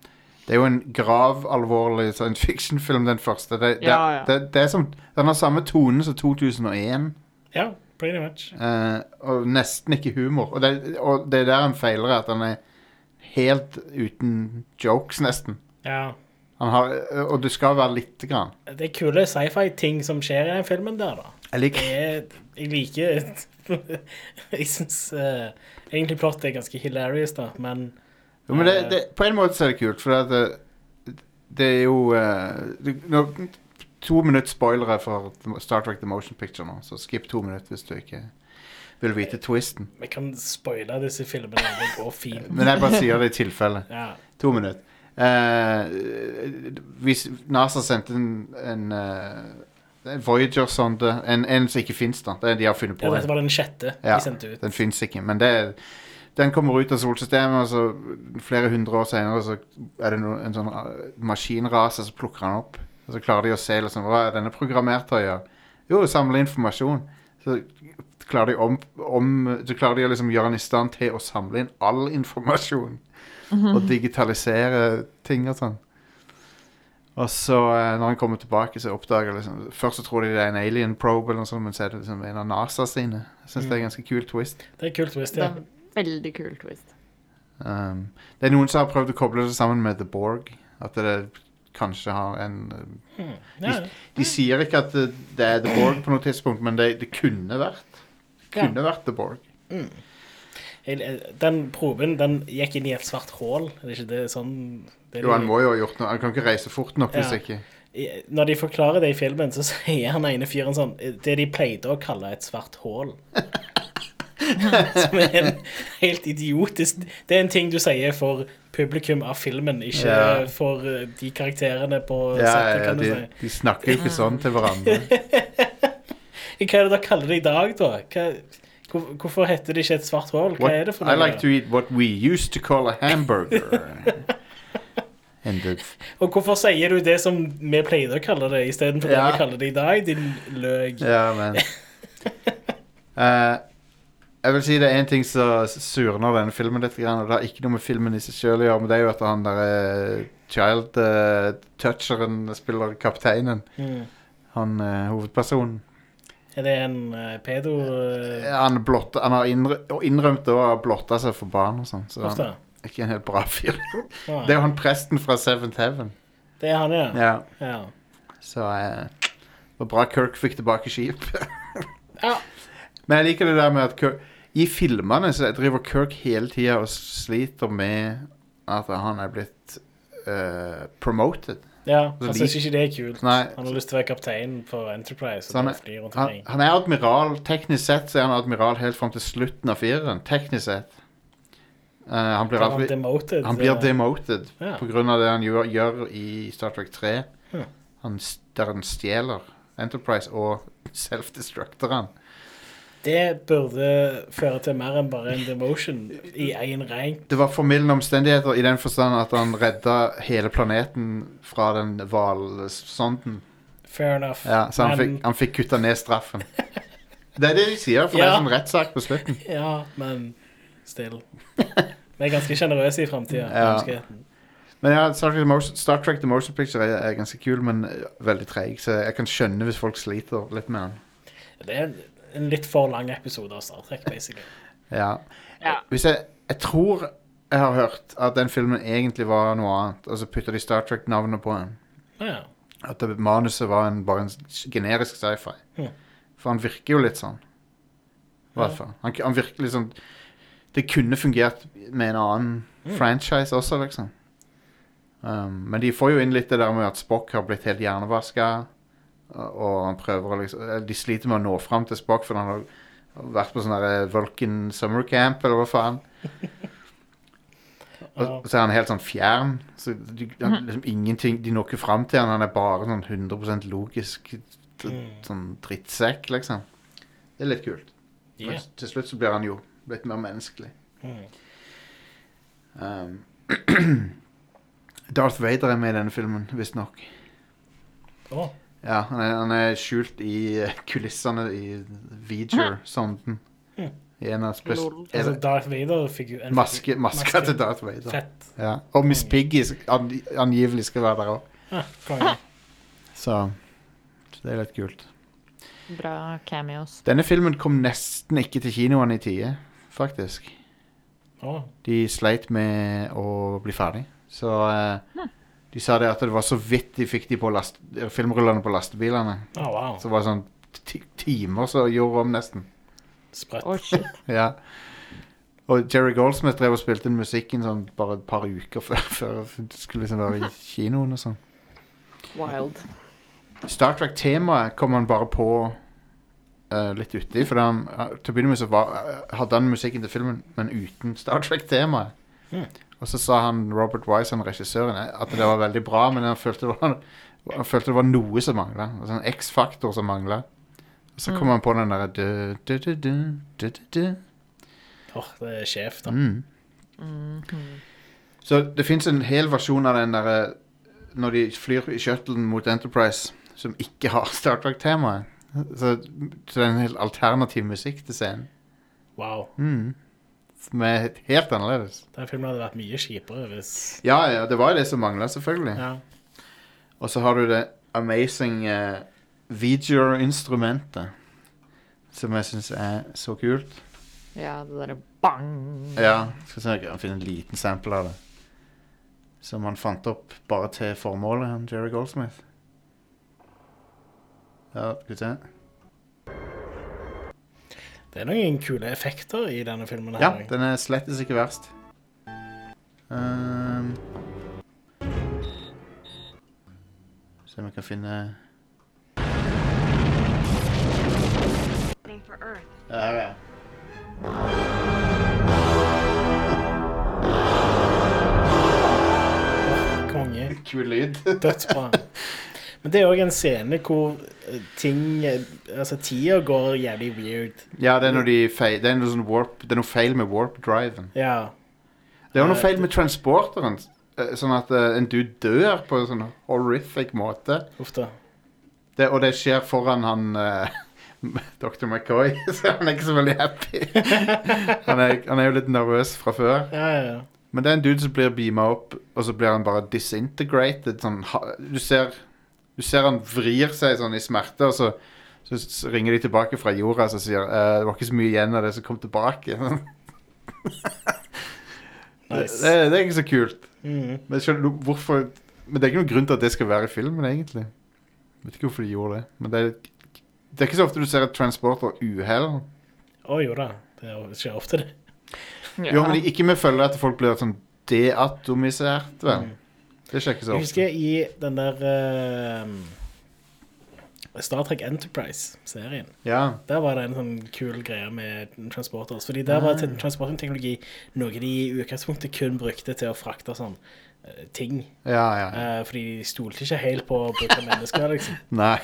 Det er jo en grav alvorlig science fiction-film, den første. Det, det,
Ja, ja.
Det, det er som, den har samme tone som 2001,
ja, pretty much.
eh, og nesten ikke humor. Og det, og det er der han feiler, at han er helt uten jokes, nesten.
Ja.
Han har, eh, og du skal være lite grann.
Det er kule sci-fi-ting som skjer i den filmen der, da.
Jeg liker
Jeg, jeg liker Jeg syns eh, egentlig plottet er ganske hilarious, da, men eh,
Jo, men det, det, på en måte så er det kult, for at det, det er jo eh, du, nå, To minutter spoilere for Star Trek The Motion Picture nå, så skip to minutter hvis du ikke vil vite twisten.
vi kan spoile disse filmene. Det går fint.
Men jeg bare sier det i tilfelle.
Ja.
To minutter. Eh, hvis NASA sendte en, en eh, en Voyager-sonde en, en som ikke fins, da. Det er de har funnet på.
Ja, dette var den sjette
Ja,
de sendte ut.
Den fins ikke, men det er den kommer ut av solsystemet, og så flere hundre år senere så er det no, en sånn eh, maskinrase som plukker han opp. Og så klarer de å se liksom, hva er denne programmert til å gjøre. Jo, samle informasjon. Så klarer de, om, om, så klarer de å liksom gjøre han i stand til å samle inn all informasjon.
Mhm.
Og digitalisere ting og sånn. Og så eh, når han kommer tilbake, så oppdager liksom Først så tror de det er en alien probe, eller noe sånt, men så er det liksom en av NASA sine. Jeg syns
Mm.
det er en ganske kul twist.
Det er kult twist,
Det
ja.
er en veldig kul twist.
Um, det er noen som har prøvd å koble det sammen med The Borg. At det kanskje har en um,
ja.
De sier ikke at det, det er The Borg på noe tidspunkt, men det, det kunne vært. Det
Ja.
kunne vært The Borg.
Jeg- eh, Den proben den gikk inn i et svart hull. Er det ikke det sånn det er
Jo, han
det-
må jo ha gjort noe. Han kan ikke reise fort nok hvis
Ja.
ikke.
I- Når de forklarer det i filmen, så sier han ene fyren sånn Det de pleide å kalle et svart hull. Som er en helt idiotisk Det er en ting du sier for publikum av filmen, ikke
Ja.
for eh, de karakterene på
Ja, ja,
settet,
ja,
kan du
de,
si.
de snakker jo ikke sånn til hverandre.
Hva er det dere kaller det i dag, da? Hva, hvor, hvorfor heter det ikke et svart hull? Hva er
What,
det for
I
noe?
like to eat what we used to call a hamburger. And the,
Og hvorfor sier du det som vi pleide å kalle det, istedenfor
Ja.
det vi kaller det i dag, din løk?
ja, men Eh, Jeg vil si det er én ting som surner denne filmen litt, grann, og det har ikke noe med filmen i seg sjøl å gjøre, men det er jo at han der eh, child eh, toucheren spiller kapteinen.
Mm.
Han eh, hovedpersonen.
Er det en eh, pedo eh,
Han, blotta- han har innrø og innrømt å ha blotta seg for barn og sånn, så han
ofte?
er ikke en helt bra fyr.
Nei.
Det er jo han presten fra Seventh Heaven.
Det er han, ja.
Ja,
ja.
så eh, det var bra Kirk fikk tilbake skip.
ja.
Men jeg liker det der med at Kirk, i filmene så driver Kirk hele tida og sliter med at han er blitt eh, promoted.
Ja,
Så
han
de-
syns ikke det er kult.
Nei.
Han har lyst til å være kaptein for Enterprise.
Så han,
Og
er-
bare fly rundt
han,
omkring.
han er admiral. Teknisk sett så er han admiral helt fram til slutten av fireren. Teknisk sett. Eh, han blir,
Han,
aldri,
demoted,
han blir
eh,
demoted
Ja. Hm.
på grunn av det han gjør, gjør i Star Trek 3.
Ja.
Han, s- der han stjeler Enterprise og self-destructer han.
Det burde føre til mer enn bare en demotion i én rank.
Det var formildende omstendigheter i den forstand at han redda hele planeten fra den hvalsonden.
Fair enough.
Ja, så han,
Men-
fikk, han fikk kutta ned straffen. Det er det de sier, for det
Ja.
er sånn rettssak på slutten.
Ja, men still. Vi er ganske sjenerøse i framtida.
Ja. Men ja, Star Trek The Motion, Star Trek The Motion Picture er, er ganske kul, men eh, veldig treig. Så jeg kan skjønne hvis folk sliter litt med den.
Det er en, en litt for lang episode av Star Trek, basically.
Ja.
Ja.
Hvis jeg, jeg tror jeg har hørt at den filmen egentlig var noe annet, og så putter de Star Trek-navnet på den.
Ja.
At det, manuset var en, bare en s- generisk sci-fi.
Ja.
For han virker jo litt sånn. I hvert fall. Han, han virker liksom Det kunne fungert med en annen franchise også, liksom. Um, men de får jo inn litt det der med at Spock har blitt helt hjernevaska. Og og han prøver å liksom eller De sliter med å nå fram til Spock, for han har vært på sånn der Vulcan summer camp, eller hva faen.
Ja.
Og så er han helt sånn fjern. Så de, han, liksom ingenting De når ikke fram til han Han er bare sånn 100 logisk t- sånn drittsekk, liksom. Det er litt kult.
Ja. Mm.
Men til slutt så blir han jo litt mer menneskelig. Um, Darth Vader er med i denne filmen, visstnok.
Å,
Ja, han er, han er skjult i eh, kulissene i Viger-sonden. I en av spes...
Lol.
er
Mm. altså
det
Darth Vader-figur. en
Maske,
figur-
maska til Darth Vader.
Fett.
Ja. Og Miss Piggy sk- ang- angivelig skal være der òg.
Ja, konge.
Så så det er litt kult.
Bra cameos.
Denne filmen kom nesten ikke til kinoene i tide, faktisk.
Å,
De sleit med å bli ferdig. Så eh, de sa det at det var så vidt de fikk de på last, filmrullene på lastebilene.
å, wow.
Så det var sånn ti timer som gjorde om nesten.
Sprøtt.
Å, shit.
Ja. Og Jerry Goldsmith drev og spilte inn musikken sånn bare et par uker før, før det skulle liksom være i kinoen og sånn.
Wild.
Star Trek-temaet kom han bare på eh, litt uti. For han, eh, til å begynne med så var, eh, hadde han musikken til filmen, men uten Star Trek-temaet.
Hmm.
Og så sa han Robert Wise, han regissøren, eh, at det var veldig bra, men han følte det var, han følte det var noe som mangla. Altså en X-faktor som mangla. Så kom han på den derre du, du, du, du, du, du, du.
Åh, det er sjef, da.
Mm. Så det fins en hel versjon av den derre Når de flyr i shuttlen mot Enterprise, som ikke har Star Trek-temaet. Så, så det er en helt alternativ musikk til scenen.
Wow.
Mm. Som er helt annerledes.
Den filmen hadde vært mye kjipere hvis
Ja, ja, det var jo det som mangla, selvfølgelig.
Ja.
Og så har du det amazing uh, instrumentet Som jeg syns er så kult.
Ja, det derre bang.
Ja, skal se om jeg kan finne en liten sample av det. Som han fant opp bare til formålet, han Jerry Goldsmith. Ja, skal vi se.
Det er noen kule effekter i denne filmen.
Ja,
her.
den er slettes ikke verst. Ehm. se om jeg kan finne
Thing for Earth.
Ja, her er
Konge.
det. Kul lyd.
Dødsbra. Men det er òg en scene hvor eh, ting eh, Altså, tida går jævlig weird.
ja, det er, når de feil, det, er noe sånn warp, det er noe feil med warp-driven.
Ja.
Det er jo noe feil med transporteren. eh, Sånn at eh, en dude dør på en sånn horrific måte.
Uff da.
Det, og det skjer foran han eh, Dr. McCoy, så han er ikke så veldig happy. han, er, han er jo litt nervøs fra før.
Ja, ja, ja.
Men det er en dude som blir beama opp, og så blir han bare disintegrated. Sånn, ha- du, ser, du ser han vrir seg sånn i smerte, og så, så, s- ringer de tilbake fra jorda og sier eh, det var ikke så mye igjen av det som kom tilbake. det,
Nice.
det, det er ikke så kult.
Mhm.
Men, jeg skjønner, hvorfor, men det er ikke noen grunn til at det skal være i filmen, egentlig. Jeg vet ikke hvorfor de gjorde det. Men det er, det er ikke så ofte du ser et transporter-uhell.
Å jo da. Det er jo- skjer ofte, det.
Jo, men de- ikke med følge at folk blir sånn deatomisert, vel. Det skjer ikke så
Jeg
ofte.
husker i den der eh, Star Trek Enterprise-serien.
Ja.
Der var det en sånn kul greie med transporters. Fordi der
Ah.
var te- transportteknologi noe de i utgangspunktet kun brukte til å frakte sånn eh, ting.
Ja, ja. ja.
Eh, fordi de stolte ikke helt på å bruke mennesker, liksom.
Nei.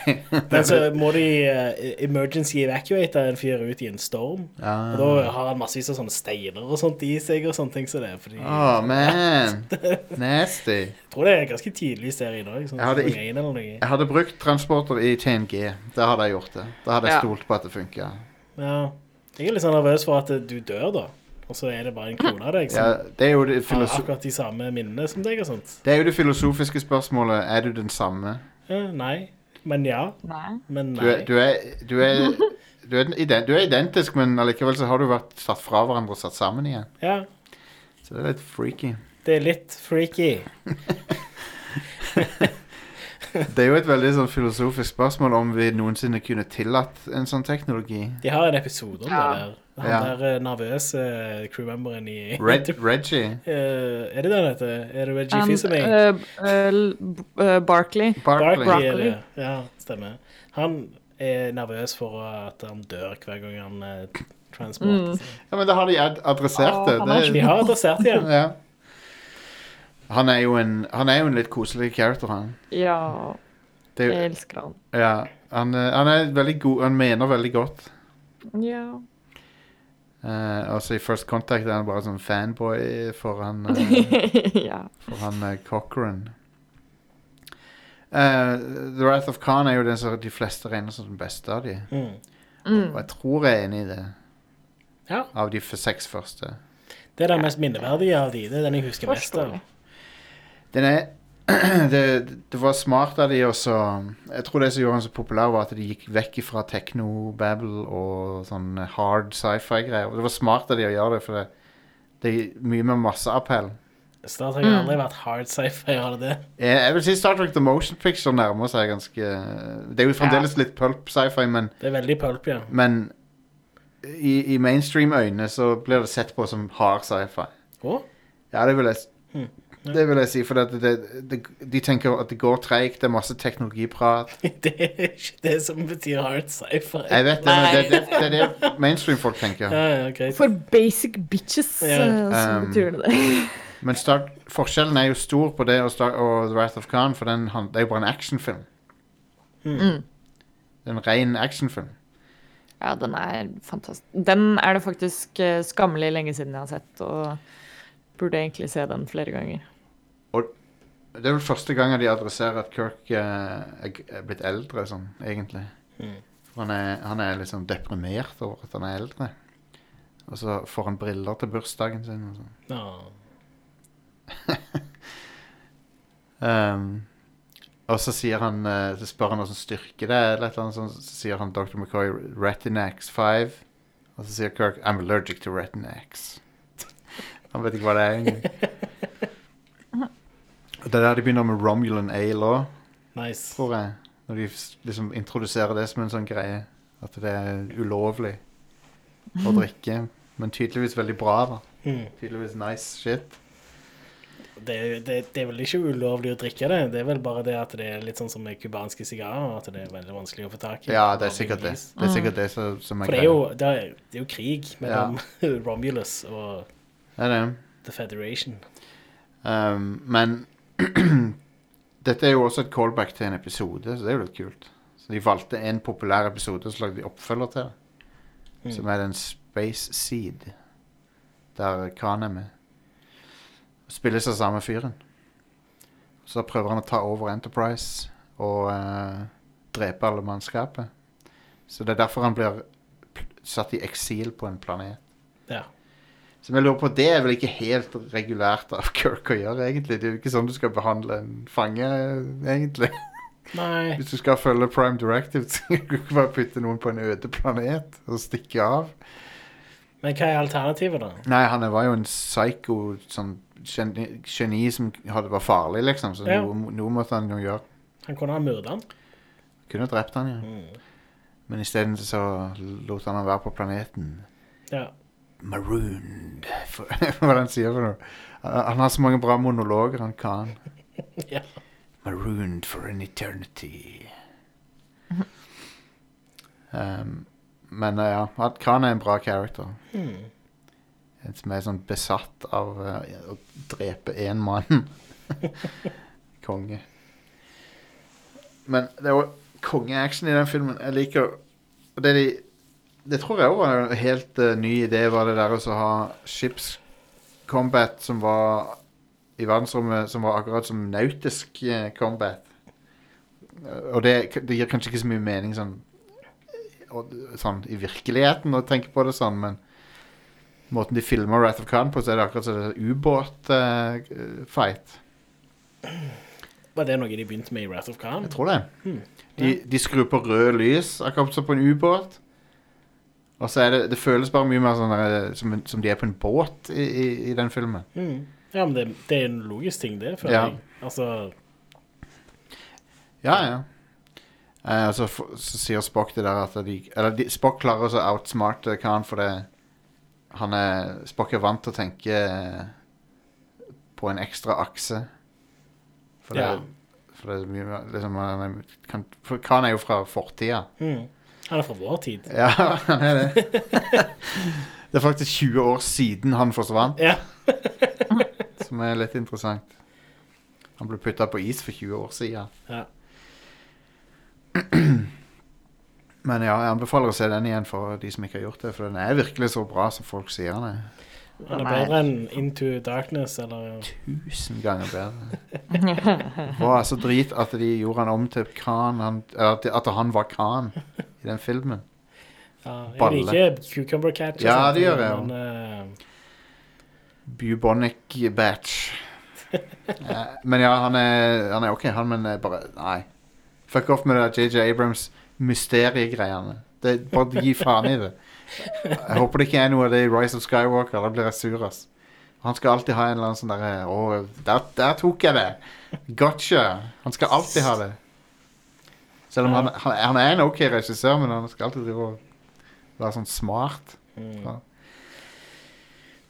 Men så må de eh, emergency evacuate en fyr ut i en storm.
Ah.
Og da har han massevis av sånne steiner og sånt i seg og sånne ting som det. Fordi
Å, man. Nasty.
jeg tror det er ganske tidlig i serien òg. Sånn,
Jeg hadde
sesong
ikke-
én eller noe.
Jeg hadde brukt transporter i Chain G. Da hadde jeg gjort det. Da hadde jeg
Ja.
stolt på at det funka.
ja. Jeg er litt sånn nervøs for at eh, du dør, da. Og så er det bare en klone av deg
Ja,
som
det, er jo det,
har
filoso
akkurat de samme minnene som deg og sånt.
det er jo det filosofiske spørsmålet. Er du den samme?
Eh, nei. Men ja.
Nei.
Men
Du er,
nei.
du er, du er, du er, den iden- du er identisk, men allikevel så har du vært satt fra hverandre og satt sammen igjen.
Ja,
Så det er litt freaky.
det er litt freaky.
Det er jo et veldig sånn filosofisk spørsmål om vi noensinne kunne tillatt en sånn teknologi.
De har en episode om
Ja.
det der. Han
Ja.
der eh, nervøse crewmemberen i
Red, Reggie.
Eh, er det det han heter? Er det Reggie
Han,
Fils-Aimee?
eh, eh, L- eh, Barkley.
Barkley.
Barkley.
er det. Ja, stemmer. Han er nervøs for at han dør hver gang han eh,
Mm.
transporter. seg.
Ja, men da har de ad adressert det.
Å, han er
det
De har adressert det. ja.
ja. han, er jo en, han er jo en litt koselig character, han.
Ja,
Det er jo,
jeg
Eh.
elsker han.
Ja, han, eh, han er veldig god Han mener veldig godt.
Ja.
Eh, altså I First Contact er han bare sånn fanboy for han, eh,
ja.
for han eh, Cochran. Eh, The Wrath of Khan er jo den som de fleste regner som den beste av de.
Mm.
Og jeg tror jeg er enig i det.
Ja.
Av de f- seks første.
Det er den mest minneverdige av de. Det er den jeg husker mest av.
Forståelig.
Den er det, det var smart av de også Jeg tror det som gjorde han så populær, var at de gikk vekk fra techno-babble og sånn hard sci-fi-greier. Det var smart av de å gjøre det, for det, det er mye med masseappell.
Star Trek har aldri
Mm.
vært hard sci-fi, har det det?
Jeg, jeg vil si Star Trek The Motion Picture nærmer seg ganske Det er jo fremdeles litt pulp sci-fi, men,
Det er veldig pulp, ja.
men i, i mainstream-øyne så blir det sett på som hard sci-fi.
Å?
Ja, det vil jeg, s- det vil jeg si, for det, det, det, de tenker at det går treigt, det er masse teknologiprat.
Det er ikke det som betyr hard sci-fi.
Jeg vet det, men det, det, det er det mainstream-folk tenker.
Ja, ja, greit.
For basic bitches,
Ja.
eh, så
Um,
betyr det det.
Men Star, forskjellen er jo stor på det og, Star, og The Wrath of Khan, for den, han, det er jo bare en actionfilm. Det er En ren actionfilm.
Ja, den er fantastisk. Den er det faktisk eh, skammelig lenge siden jeg har sett, og burde egentlig se den flere ganger.
Og det er vel første gangen de adresserer at Kirk eh, er, g- er blitt eldre, sånn, egentlig. For han er, han er liksom deprimert over at han er eldre. Og så får han briller til bursdagen sin. og sånn.
Å.
Ehm, og så sier han eh, Så spør han hvordan styrke det er, eller et eller annet sånt. Så sier han Dr. McCoy Retinax 5. Og så sier Kirk I'm allergic to Retinax. han vet ikke hva det er engang. Og Det er der de begynner med Romulan Ale òg,
Nice.
tror jeg. eh, Når de s- liksom introduserer det som en sånn greie. At det er ulovlig å drikke. Men tydeligvis veldig bra, da.
Mm.
Tydeligvis nice shit.
Det, er- det, det er vel ikke ulovlig å drikke det, det er vel bare det at det er litt sånn som med cubanske sigarer, at det er veldig vanskelig å få tak i.
Ja, det er sikkert det. Det er sikkert det som, som
Mm. For det er jo, det er, det er jo krig mellom Romulus og
Det er det.
The Federation.
Um, men dette er jo også et callback til en episode, så det er jo litt kult. Så de valgte en populær episode, og så lagde de oppfølger til det. Som er den Space Seed, der Khan er med. Og Spilles av samme fyren. Så prøver han å ta over Enterprise og eh, drepe alle mannskapet. Så det er derfor han blir pl- satt i eksil på en planet.
Ja.
Som jeg lurer på, det er vel ikke helt regulært av Kirk å gjøre, egentlig. Det er jo ikke sånn du skal behandle en fange, egentlig.
Nei.
Hvis du skal følge Prime Directive, så kan du ikke bare putte noen på en øde planet og stikke av.
Men hva er alternativet, da?
Nei, han var jo en psycho, sånn geni, geni som hadde, var farlig, liksom. Så
Ja.
noe, noe måtte han jo gjøre.
Han kunne ha myrdet han.
Kunne drept han, ja. Men isteden så lot han han være på planeten.
Ja.
Marooned, for, hva er det han sier for noe. Han, han har så mange bra monologer, han kan.
ja.
Marooned for an eternity. Um, men eh, ja, han- Khan er en bra character. En Som er sånn besatt av eh, å drepe én mann. konge. Men det er jo kongeaction i den filmen. Jeg liker Og det de Det tror jeg òg var en helt eh, ny idé, var det der å så ha ships combat som var i verdensrommet som var akkurat som nautisk eh, combat. Eh, Og det, det gir kanskje ikke så mye mening sånn, og, sånn i virkeligheten å tenke på det sånn, men måten de filmer Wrath of Khan på, så er eh, det akkurat som en ubåtfight.
Var det noe de begynte med i Wrath of Khan?
Jeg tror det. De, de skrur på rød lys, akkurat som på en ubåt. Og så er det, det føles bare mye mer sånn der, som, en- som de er på en båt i, i, i den filmen.
Mm. Ja, men det, det er en logisk ting, det, føler
Ja.
jeg. Altså,
Ja, ja. Eh, og så, f- så sier Spock det der at de Eller de, Spock klarer også å outsmarte Khan fordi han er Spock er vant til å tenke eh, på en ekstra akse. For det,
Ja.
for det er mye mer- liksom, han er- kan, For Khan er jo fra fortida.
mm. Han er fra vår tid.
Ja, han er det. det er faktisk 20 år siden han forsvant,
Ja.
som er litt interessant. Han ble putta på is for 20 år siden.
ja.
Men ja, jeg anbefaler å se den igjen for de som ikke har gjort det, for den er virkelig så bra som folk sier den er.
Han er
Nei.
bedre enn Into Darkness, eller
Tusen ganger bedre. Det var så drit at de gjorde han om til Khan, han, eller at, at han var Khan i den filmen.
ja, Jeg
Balle.
liker Cucumber Catch. og
Ja,
sånt,
det gjør jeg jo.
Men eh,
Bubonic batch. Eh, Men ja, han er, han er ok, han, men eh, bare Nei. Fuck off med det der JJ Abrams mysteriegreiene. Det- Bare gi faen i det. Jeg håper det ikke er noe av det i Rise of Skywalker. Da blir jeg sur, ass. Han skal alltid ha en eller annen sånn derre Å, der, der tok jeg det! Gotcha! Han skal alltid ha det. Selv om han, han, han er en ok regissør, men han skal alltid drive og være sånn smart.
Mm.
Ja.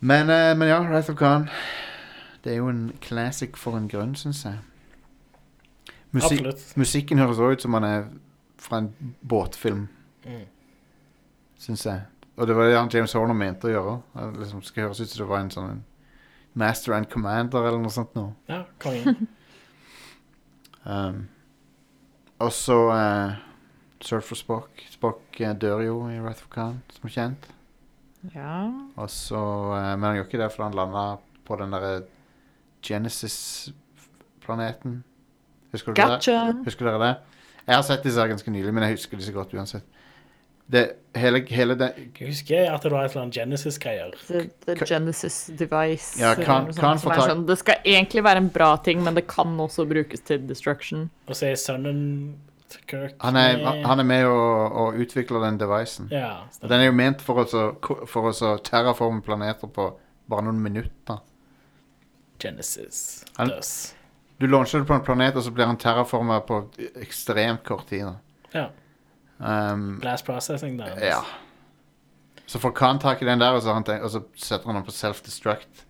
Men, eh, men ja, Wrath of Khan. Det er jo en classic for en grunn, syns jeg. Musikk-
Absolutt.
musikken høres også ut som han er fra en båtfilm,
Mm.
syns jeg. Og det var det han James Horner mente å gjøre. Han liksom skal høres ut som det var en sånn en Master and Commander eller noe sånt noe.
Ja, kongen.
Um, og så eh, Surf for Spock. Spock eh, dør jo i Wrath of Khan, som kjent.
Ja.
Og så, eh, men han gjør ikke det, for han landa på den derre Genesis-planeten. Husker du det?
Gotcha.
Husker dere det? Jeg har sett disse her ganske nylig, men jeg husker de så godt uansett. Det, hele, hele den
Jeg husker at det var et eller annet Genesis-greier.
The, the
Ka-
Genesis device.
Ja,
eller
kan-
noe sånt
kan
som
få
er
tak-
sånn, det skal egentlig være en bra ting, men det kan også brukes til destruction.
Og så er sønnen til Kirk
Han er,
med-
han er med og, og utvikler den devicen.
Ja.
Og Den er jo ment for å så- for å så terraforme planeter på bare noen minutter.
Genesis.
Han-
Døs.
Du launcher det på en planet, og så blir han terraforma på ekstremt kort tid. da.
Ja.
Um,
Blast processing, da.
Ja. Så får Khan tak i den der, og så, har han tenkt, og så setter han den på self-destruct.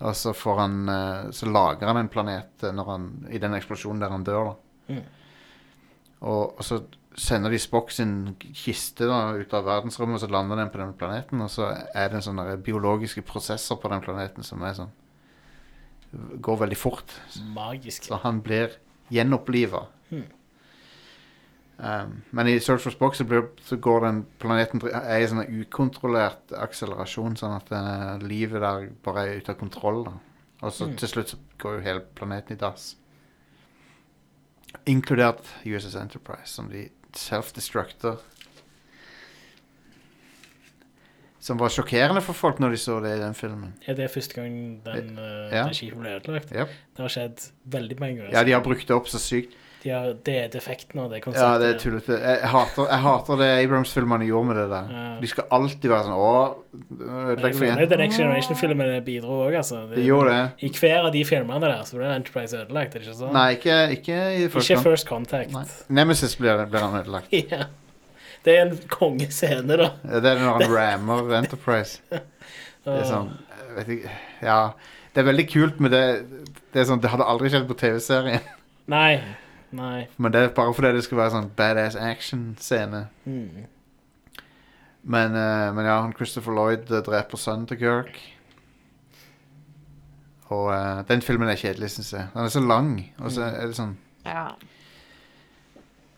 Og så, får han, eh, så lager han en planet eh, når han, i den eksplosjonen der han dør. Da.
Mm.
Og, og så sender de Spock sin kiste da, ut av verdensrommet, og så lander den på den planeten. Og så er det en sånn derre biologiske prosesser på den planeten som er sånn Går veldig fort.
Magisk.
Så han blir gjenoppliva. Um, men i Search for Spock så, blir, så går den planeten dri- er i sånn ukontrollert akselerasjon, sånn at eh, livet der bare er ute av kontroll. Da. Og så til slutt så går jo hele planeten i dass. Inkludert USS Enterprise, som de self-destructer. Som var sjokkerende for folk når de så det i den filmen.
Er det første gang den, eh,
Ja.
det skipet ble ødelagt?
Yep.
Det har skjedd veldig mange ganger.
Ja, de har brukt det opp så sykt.
De har, det er defekten av
Ja,
det konseptet.
det er tullete. Jeg, jeg hater, jeg hater det Abrams-filmene gjorde med det der.
Ja.
De skal alltid være sånn Å, ødelegg for
Men
jenter.
The Next Generation-filmen bidro òg, altså.
De gjorde det.
I hver av de filmene der så ble Enterprise ødelagt, er det ikke sånn?
Nei, ikke, ikke i første
ikke
gang.
First Contact.
Nei. Nemesis blir, blir han ødelagt.
Ja. Det er en kongescene, da.
Det er når han rammer Enterprise. Det er sånn jeg vet ikke, Ja. Det er veldig kult, men det, det er sånn Det hadde aldri skjedd på TV-serien.
Nei. Nei.
Men det er bare fordi det skal være sånn badass action-scene.
Mm.
Men, eh, men ja, han Christopher Lloyd eh, dreper sønnen til Kirk. Og eh, den filmen er kjedelig, syns jeg. Den er så lang, og så er det sånn
Ja.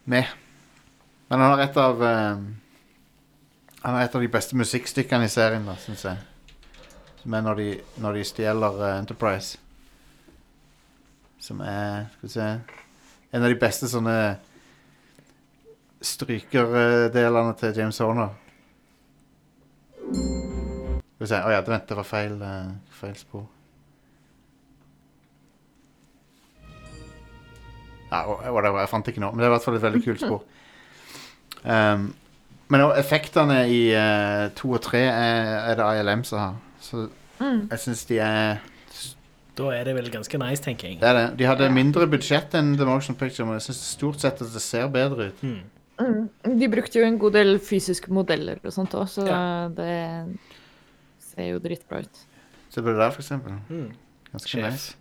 meh. Men han har et av eh, Han har et av de beste musikkstykkene i serien, da, syns jeg. Som er når de, når de stjeler eh, Enterprise. Som er Skal vi se En av de beste sånne strykerdelene til James Horner. Skal vi se Å ja, vent, det var feil, eh, feil spor. Ja, wh- whatever, jeg fant det ikke nå, men det er i hvert fall et veldig kult spor. Um, men også effektene i eh, to og tre er, er det ILM som har. Så
Mm.
jeg syns de er
Da er det vel ganske nice, tenker jeg.
Det er det. De hadde
Ja.
mindre budsjett enn The Motion Picture, men jeg syns stort sett at det ser bedre ut.
Mm.
Mm. De brukte jo en god del fysiske modeller og sånt òg, så
Ja.
det ser jo dritbra ut.
Se på det der, for eksempel.
Mm.
Ganske
Sjef.
nice.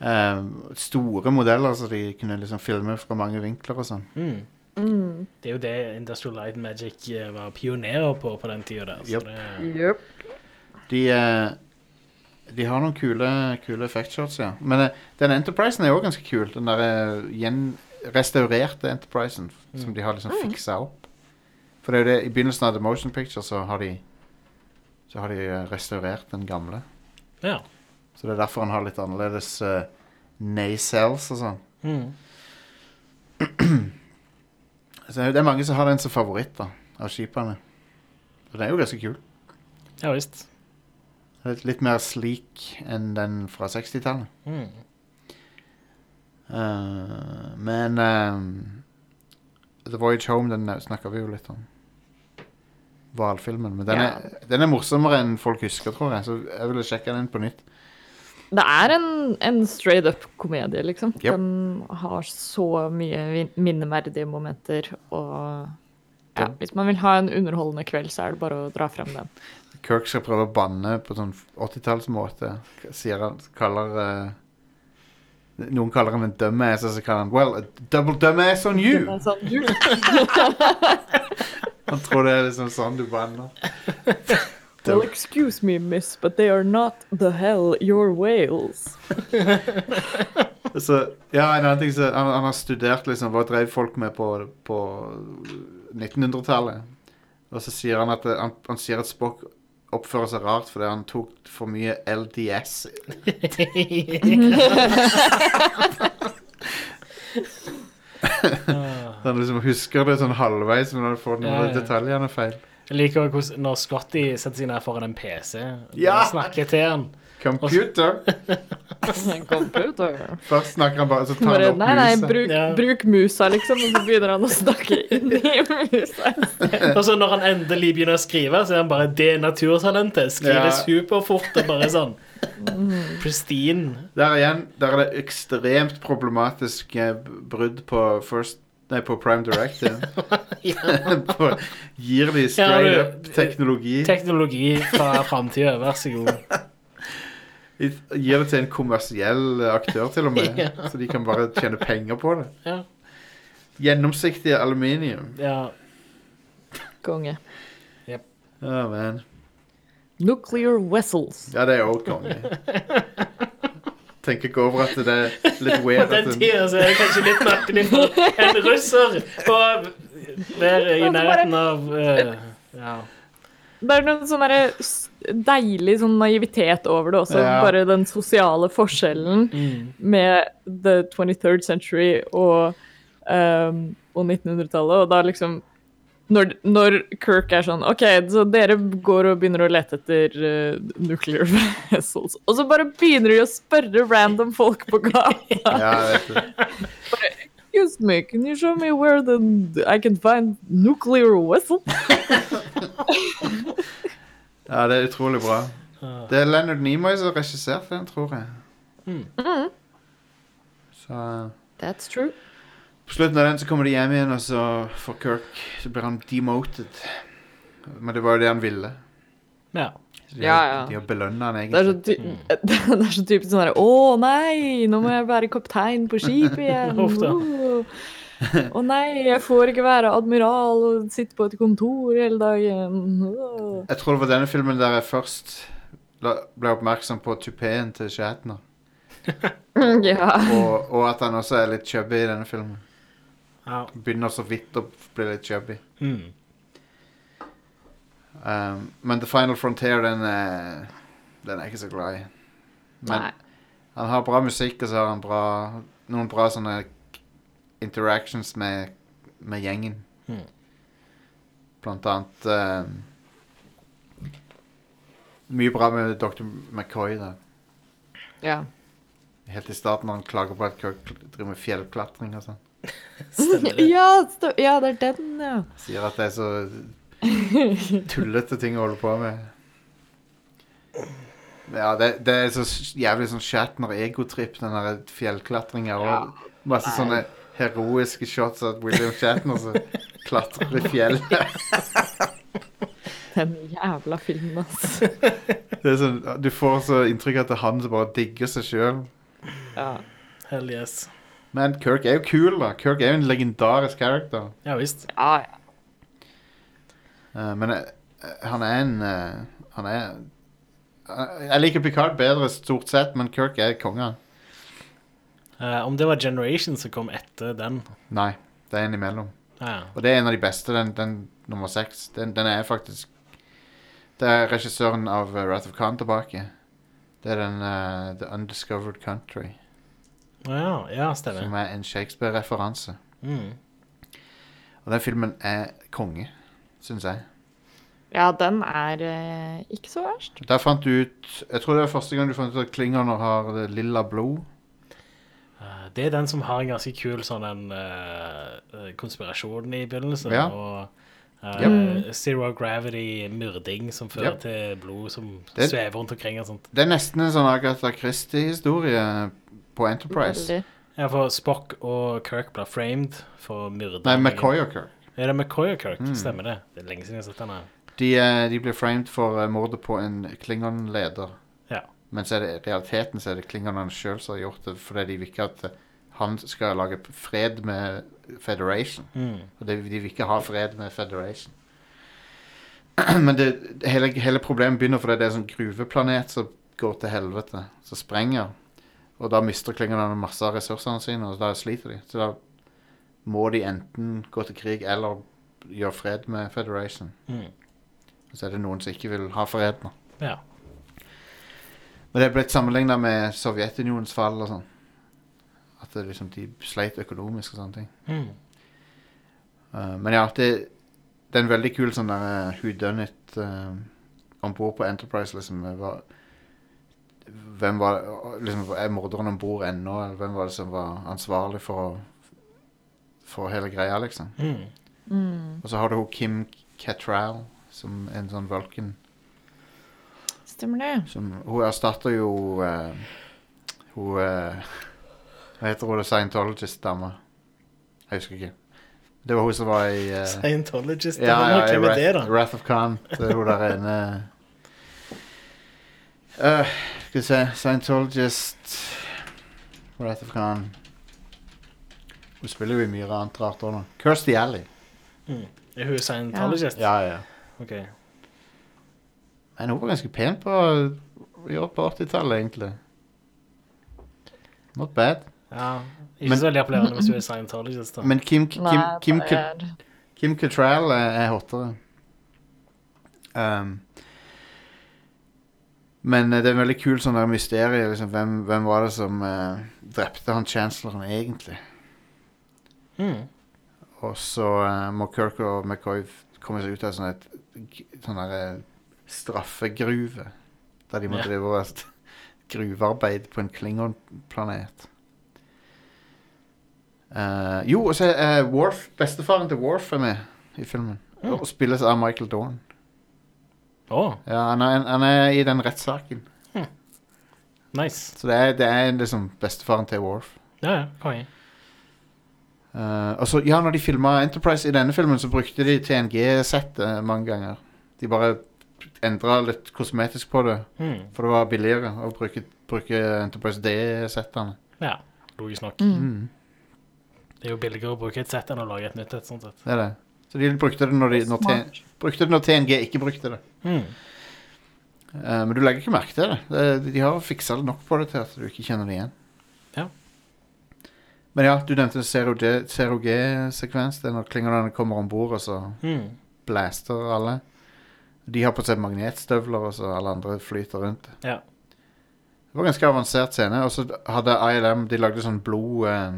Ehm, store modeller, så de kunne liksom filme fra mange vinkler og sånn.
Mm.
Mm.
Det er jo det Industrial Light and Magic eh, var pionerer på på den tida der. Så
Yep.
det,
De, eh, de har noen kule, kule effektshots, ja. Men eh, den Enterprisen er jo også ganske kul. Den der eh, gjen- restaurerte Enterprisen
Mm.
som de har liksom fiksa opp. For det er jo det, i begynnelsen av The Motion Picture så har de Så har de eh, restaurert den gamle.
ja.
Så det er derfor han har litt annerledes uh, nacelles og sånn.
Mm.
Så det er mange som har den som favoritt da, av skipene. Og den er jo ganske kul.
ja visst.
Litt, litt mer sleek enn den fra 60-tallet.
Mm.
Eh, men eh, The Voyage Home, den snakka vi jo litt om. Hvalfilmen. Men den,
Ja.
er, den er morsommere enn folk husker, tror jeg. Så jeg ville sjekke den på nytt.
Det er en, en straight up-komedie, liksom.
Yep.
Den har så mye vin- minneverdige momenter, og ja,
Den-
hvis man vil ha en underholdende kveld, så er det bare å dra frem den.
Kirk skal prøve å banne på sånn 80-tallsmåte. Sier han Kaller eh, Noen kaller han en dumbass, og så kaller han Well, a double dumbass on
Det
you!
er sånn, du,
Han tror det er liksom sånn du banner.
well, excuse me, miss, but they are not the hell your whales.
Så, ja, en annen ting så, han, han har studert liksom, hva drev folk med på, på 1900-tallet. Og så sier han at eh, han, han sier at Spock oppfører seg rart fordi han tok for mye LDS.
Ah.
Han liksom husker det sånn halvveis, men han får noen
Ja, ja.
detaljene feil.
Jeg liker også hvordan når Scotty setter seg ned foran en PC og
Ja!
snakker til han.
Computer!
Computer.
Først snakker han bare, så tar han
Bare,
opp
nei, nei,
musa.
bruk,
Ja.
bruk musa, liksom, og så begynner han å snakke inn i musa.
Og så når han endelig begynner å skrive, så er han bare det er naturtalentet.
Ja.
Skriver superfort og bare sånn pristine.
Der igjen, der er det ekstremt problematisk eh, b- brudd på first Nei, på Prime Directive. på, gir de straight
Ja, eh,
up
du-
teknologi.
Teknologi fra framtida, vær så god.
De Gir det til en kommersiell aktør til og med,
Ja.
så de kan bare tjene penger på det.
Ja.
Gjennomsiktige aluminium.
ja.
Konge.
Å, man.
Nuclear vessels.
Ja, det er òg konge. Tenker ikke over at det er litt
På
weird at
den
en,
tida så er det kanskje litt merkelig for en russer å være i nærheten av eh, ja.
Det er noe sånn derre s- deilig sånn naivitet over det også.
Ja.
Bare den sosiale forskjellen med the 23rd century og, ehm, og 1900-tallet. Og da liksom når, når Kirk er sånn OK, så dere går og begynner å lete etter eh, nuclear vessels. Og så bare begynner de å spørre random folk på gata.
ja, jeg vet det.
Excuse me, can you show me where the I can find nuclear vessel?
ja, det er utrolig bra. Det er Leonard Nimoy som regisserte den, tror jeg. Så eh,
That's true.
På slutten av den så kommer de hjem igjen, og så får Kirk Så blir han demoted. Men det var jo det han ville.
Ja.
Så De,
Ja, ja.
de har belønna han
Det er så,
egentlig.
ty
Mm.
det er så typisk sånn derre Å nei, nå må jeg være kaptein på skip igjen.
Uff da.
Uh. Å nei, jeg får ikke være admiral og sitte på et kontor hele dagen. Uh.
Jeg tror det var denne filmen der jeg først la- ble oppmerksom på tupeen til Shatner.
Ja.
Og, og at han også er litt chubby i denne filmen.
ja.
Begynner så vidt å bli litt chubby.
Mm.
Um, men The Final Frontier, den er, den er jeg ikke så glad i. Men
Nei.
han har bra musikk, og så har han bra, noen bra sånne interactions med, med gjengen.
Mhm.
Blant annet um, Mye bra med Dr. McCoy, da.
Ja.
Helt i starten når han klager på at Kirk driver med fjellklatring og sånn.
Stemmer det.
Ja, sto- ja, det er den, ja.
Sier at det er så tullete ting å holde på med. Ja, det, det er så s- jævlig sånn Shatner-egotripp, den der fjellklatringa. Og masse sånne heroiske shots av William Shatner som klatrer i fjellet.
Den jævla filmen, altså.
Det er sånn, du får så inntrykk av at det er han som bare digger seg sjøl.
Ja.
Hell yes.
Men Kirk er jo kul, da. Kirk er jo en legendarisk character.
Ja visst.
ja, ja.
Eh, men eh, han er en eh, Han er eh, Jeg liker Picard bedre stort sett, men Kirk er konge. han.
Eh, om det var Generation som kom etter den
Nei, det er en imellom.
ja.
Og det er en av de beste, den, den nummer seks. Den, den er faktisk Det er regissøren av eh, Wrath of Khan tilbake. Det er den eh, The Undiscovered Country,
ja. Ja,
som
stemmer.
er en Shakespeare-referanse.
Mm.
Og den filmen er konge, syns jeg.
ja, den er eh, ikke så verst.
Der fant du ut Jeg tror det er første gang du fant ut at klingoner har det lilla blod.
Eh, Det er den som har en ganske kul sånn en eh, eh, konspirasjon i begynnelsen.
Ja.
Og eh, zero gravity-myrding som fører
Yep.
til blod som
Det-
svever rundt omkring og sånt.
Det er nesten en sånn Agatha Christie-historie på Enterprise.
Veldig.
Ja, for Spock og Kirk blir framed for myrding.
Nei, McCoy Mm. og Kirk.
Er det McCoy og Kirk? Stemmer det. Det er lenge siden jeg har sett den her.
De, eh, de blir framed for eh, mordet på en Klingon-leder.
Ja.
Men så er det i realiteten så er det Klingonene sjøl som har gjort det, fordi de vil ikke at eh, han skal lage p- fred med Federation.
Mm.
Og det, de vil ikke ha fred med Federation. Men det, hele, hele problemet begynner fordi det er en sånn gruveplanet som går til helvete, som sprenger. Og da mister Klingonene masse av ressursene sine, og da sliter de. Så da må de enten gå til krig eller gjøre fred med Federation.
Mm.
Så er det noen som ikke vil ha fred nå.
ja.
Men det er blitt sammenligna med Sovjetunionens fall og sånn. At det liksom de sleit økonomisk og sånne ting.
Mm.
Eh, men ja, det, det er en veldig kul sånn der hudønnet uh, om bord på Enterprise, liksom. eh, Hva, hvem var liksom, Er morderen om bord ennå? Eller hvem var det som var ansvarlig for, å- for hele greia, liksom?
Mm.
Og så har du hun Kim Cattrall, som en sånn Vulcan.
Stemmer det.
Som, hun erstatter jo eh, Hun eh, Hva heter hun? Scientologist-dama. Jeg husker ikke. Det var hun som var i eh,
Scientologist.
ja, ja, i
Hvem er det, da?
Wrath, Wrath of Khan. Det er hun der inne Eh, Skal vi se Scientologist Wrath of Khan. Hun spiller jo i mye annet rart òg nå. Kirsty Alley.
Er hun scientologist?
Ja, ja.
Ok.
Men hun var ganske pen på, i år på 80-tallet, egentlig. Not bad.
Ja. Ikke
Men-
så veldig appellerende hvis du er scientologist, da.
Men Kim, Kim,
Nei,
Kim,
det
Cat-
er-
Kim Cattrall er, er hottere. Um, men eh, det er en veldig kul sånn der mysterie. Liksom, hvem, hvem var det som eh, drepte han chancelleren egentlig?
Mm.
Og så eh, må Kirk og McCoy f- komme seg ut av sånn et g- sånn der, eh, straffegruve. Der de må
Ja.
drive og st- gruvearbeid på en Klingon-planet. Eh, jo, og så er Worf, bestefaren til Worf er med i filmen. Og spilles av Michael Dawn.
Å,
Ja, han, er, han er i den rettssaken.
nice.
Så det er, det er liksom bestefaren til Worf.
Ja, ja. Konge.
Eh, og så, ja, når eh, de filma Enterprise i denne filmen, så brukte de TNG-settet mange ganger. De bare endra litt kosmetisk på det.
Hmm.
For det var billigere å bruke, bruke Enterprise D-settene.
Ja, logisk nok.
Mm.
Det er jo billigere å bruke et sett enn å lage et nytt et. sånn sett.
Det er det. Så de brukte det når, de, når,
Smart.
T- brukte det når TNG ikke brukte det.
Mhm.
Eh, men du legger ikke merke til det. det. De har fiksa det nok på det til at du ikke kjenner det igjen.
Ja.
Men ja, du nevnte Zero G- Zero G-sekvens. Det er når klingerne kommer om bord, og så
Mhm.
blaster alle. De har på seg magnetstøvler, og så alle andre flyter rundt.
Ja.
Det var en ganske avansert scene. Og så hadde ILM De lagde sånn blod eh,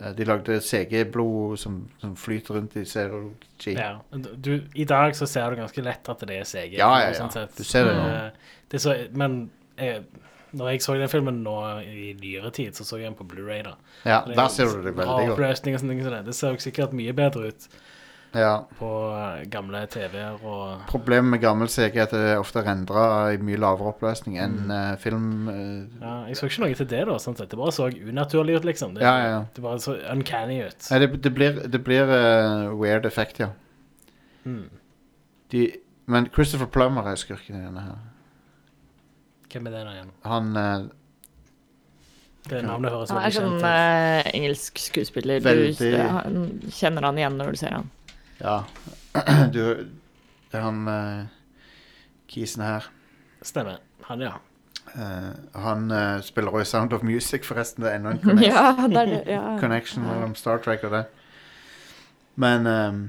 eh, De lagde CG-blod som, som flyter rundt i Zero G.
ja. Du, I dag så ser du ganske lett at det er CG.
Ja, ja, ja.
sånn sett.
Du ser det nå.
Eh, det er så, men eh, når jeg så den filmen nå i nyere tid, så så jeg den på Blu-ray da.
Ja,
Det er
der ser du det veldig
bra
godt.
oppløsning og sånne ting som det. Det ser jo sikkert mye bedre ut
Ja.
på eh, gamle TV-er og
Problemet med gammel CG er at det er ofte rendra i mye lavere oppløsning enn
Mm.
eh, film. eh,
ja, Jeg så ikke noe til det, da. Sånn sett. Det bare så unaturlig ut, liksom. Det,
Ja, ja, ja.
det bare så uncanny ut.
Nei, det, det blir, det blir eh, weird effekt, ja.
Mm.
De, men Christopher Plummer er skurken i denne her.
Hvem er det nå igjen?
Han eh,
Det navnet høres
Han er
veldig
sånn
kjent ut.
eh, engelsk skuespiller.
Veldig.
Du han, kjenner han igjen når du ser han.
Ja. Du Det er han eh, kisen her.
Stemmer. Han, ja.
Eh, han eh, spiller også i Sound of Music, forresten. Det er enda en connection,
Ja, det er det. Ja.
connection mellom Star Trek og det. Men ehm,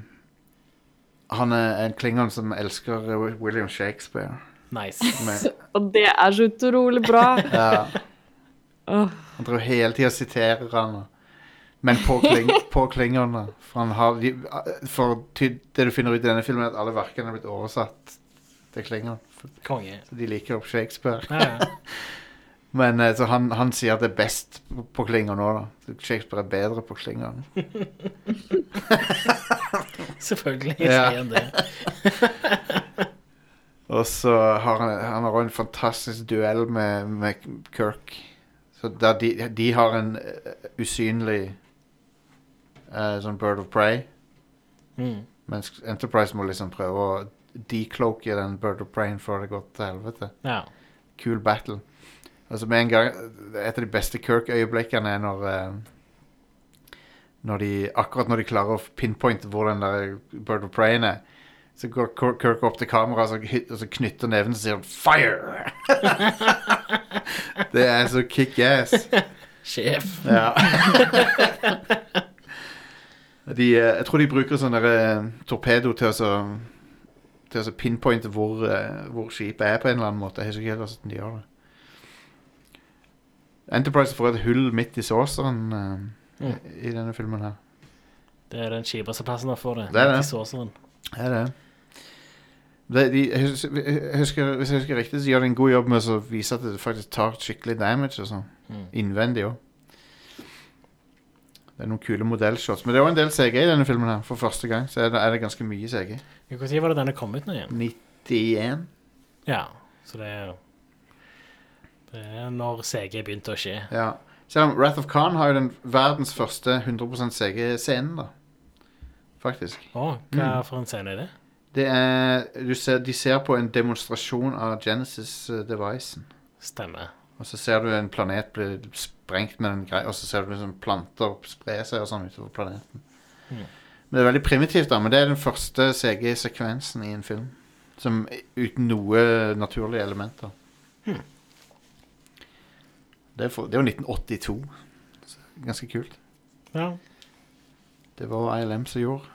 han er en klingon som elsker eh, William Shakespeare.
Nice.
Men,
Og det er så utrolig bra.
ja,
Åh.
han driver hele tida og siterer han. og- Men på, kling, på klingoner. For, han har, de, for ty, det du finner ut i denne filmen, er at alle verkene er blitt oversatt til klingon.
Konge.
Så de liker opp Shakespeare.
Ja, ja.
Men eh, så han, han sier at det er best på- på klinger nå, da. Så Shakespeare er bedre på klinger.
Selvfølgelig
Ja.
sier han det.
Og så har han, han har også en fantastisk duell med, med Kirk. Så der de, de har en eh, usynlig eh, sånn Bird of Prey.
Mm.
Mens Enterprise må liksom prøve å decloake den Bird of Prey før det går til helvete.
Ja.
Cool battle. Altså med en gang Et av de beste Kirk-øyeblikkene er når eh, når de, Akkurat når de klarer å pinpointe hvor den der Bird of Prey-en er, så går Kirk Kirk opp til kamera og så, hy- og så knytter neven og sier han, 'fire'! det er så kickass.
Sjef.
Ja. de, eh, jeg tror de bruker sånn der eh, torpedo til å så- til å så pinpointe hvor, eh, hvor skipet er på en eller annen måte. Jeg husker ikke helt hvordan de gjør det. Enterprise får et hull midt i sauceren eh,
Mm.
i denne filmen her.
Det er den kjipeste plassen å få det. sånn.
Det er det.
De såseren.
Er det? det de, jeg husker, jeg husker, hvis jeg husker riktig, så gjør de en god jobb med å vise at det faktisk tar skikkelig damage. og sånn.
Mm.
Innvendig òg. Det er noen kule modellshots. Men det er òg en del CG i denne filmen. her For første gang så er det, er det ganske mye CG.
Når var det denne kom ut nå igjen?
91?
Ja, så det er Det er når CG begynte å skje.
Ja. Selv om Wrath of Khan har jo den verdens første 100 CG-scenen, da. Faktisk.
Å, hva
Mm.
for en scene er det?
Det er du ser, De ser på en demonstrasjon av eh, Genesis-devicen.
Stemmer.
Og så ser du en planet bli sprengt med en greie, og så ser du liksom planter spre seg og sånn utover planeten.
Mhm.
Men det er veldig primitivt, da. Men det er den første CG-sekvensen i en film. Som uten noe naturlige elementer. Det, er for, det er jo 1982. Så Ganske kult.
Ja.
Det var ILM som gjorde.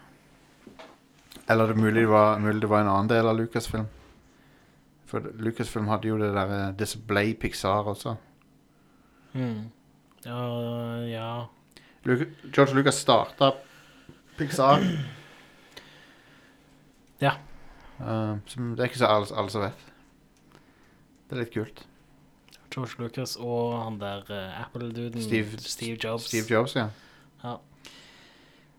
Eller det er mulig det var, mulig det var en annen del av Lucasfilm. For Lucasfilm hadde jo det der eh, Display Pixar også.
Mm. ja. Ja.
Luke, George Lucas starta Pixar.
Ja.
Eh, som det er ikke så alle alle som vet. Det er litt kult.
George Lucas og han der eh, Apple-duden
Steve-
Steve Jobs.
Steve Jobs, ja.
Ja.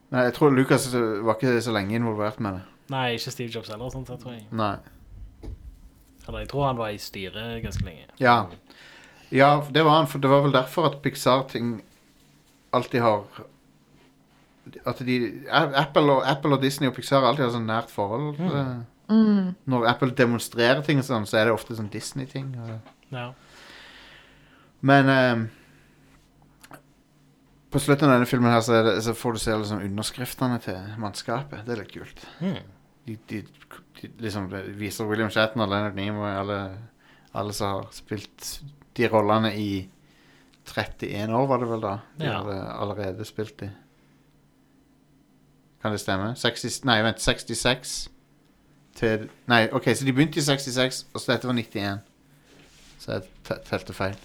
Nei, jeg tror Lucas eh, var ikke så lenge involvert med det.
Nei, ikke Steve Jobs heller, sånn sett, tror jeg.
Nei.
Eller jeg tror han var i styret ganske lenge.
Ja. ja, det var han. For det var vel derfor at Pixar-ting alltid har At de A- Apple og, Apple og Disney og Pixar har alltid har sånn nært forhold. eh, Når Apple demonstrerer ting og sånn, så er det ofte sånn Disney-ting. og-
Ja.
Men ehm, på slutten av denne filmen her så, er det, så får du se liksom underskriftene til mannskapet. Det er litt kult. De, de, de liksom viser William Shatner, Leonard Nimoy, alle, alle som har spilt de rollene i 31 år, var det vel da? De
Ja.
hadde allerede spilt de. Kan det stemme? 60, nei, vent, 66 til Nei, OK, så de begynte i 66, og så dette var 91. Så jeg te- telte feil.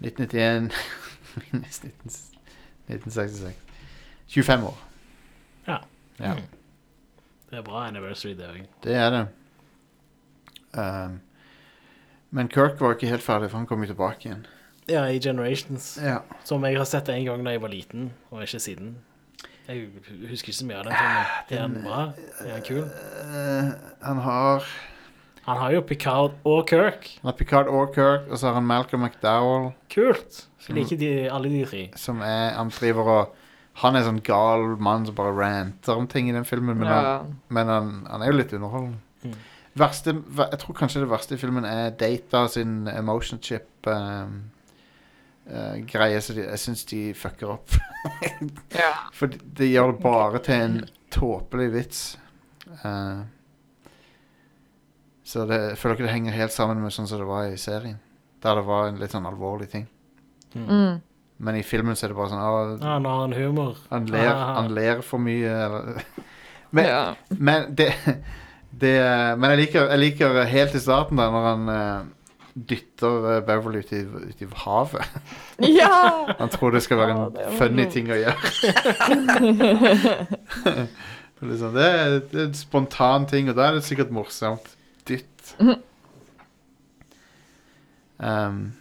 1991 minus 19, 1966. 25 år.
Ja.
Ja,
Det er bra anniversary, det òg.
det er det. Um, men Kirk var ikke helt ferdig, for han kom jo tilbake igjen.
Ja, i Generations.
Ja.
Som jeg har sett en gang da jeg var liten, og ikke siden. Jeg husker ikke så mye av den filmen.
Ah,
Er han bra?
eh,
Er han kul?
han har
Han har jo Picard og Kirk.
Han har Picard og Kirk, og så har han Malcolm McDowell,
Kult!
Mhm.
Jeg liker de, alle de tre.
som er Han driver og Han er sånn gal mann som bare ranter om ting i den filmen, men,
Ja.
han, men han, han er jo litt underholdende.
Mm.
Verste, ver- jeg tror kanskje det verste i filmen er Data sin emotion chip um, eh, greie, så de, jeg syns de fucker opp.
Ja.
For de, de gjør det bare til en tåpelig vits. Eh, så det, jeg føler ikke det henger helt sammen med sånn som det var i serien. Der det var en litt sånn alvorlig ting.
Mm.
Men i filmen så er det bare sånn «Å,
Ja, han har en humor.
han, ler,
Ah.
han ler for mye, eller Men-
ja.
Men det, det Men jeg liker, jeg liker helt i starten, da, når han eh, dytter eh, Beverly ut i, ut i havet.
ja.
Han tror det skal være
Ja,
en
det var
funny
noe.
ting å gjøre. Det er liksom, det, er, det er en spontan ting, og da er det sikkert morsomt. Dytt. Um,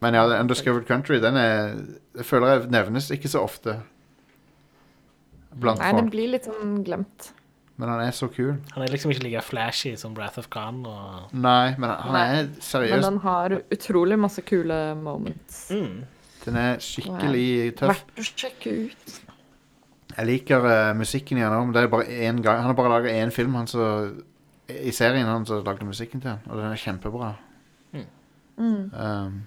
men ja, The Undiscovered Country, den er Jeg føler jeg nevnes ikke så ofte blant
Nei, den
folk.
blir litt sånn glemt.
Men han er så kul.
Han er liksom ikke like flashy som Wrath of Khan. Og...
Nei, men han
Nei.
er
Men
seriøst
den har utrolig masse kule moments.
Den er skikkelig tøff.
Verdt å sjekke ut.
Jeg liker eh, musikken i han også, men det er bare én gang. Han har bare laga én film han så, i serien han som lagde musikken til han, og den er kjempebra. Um,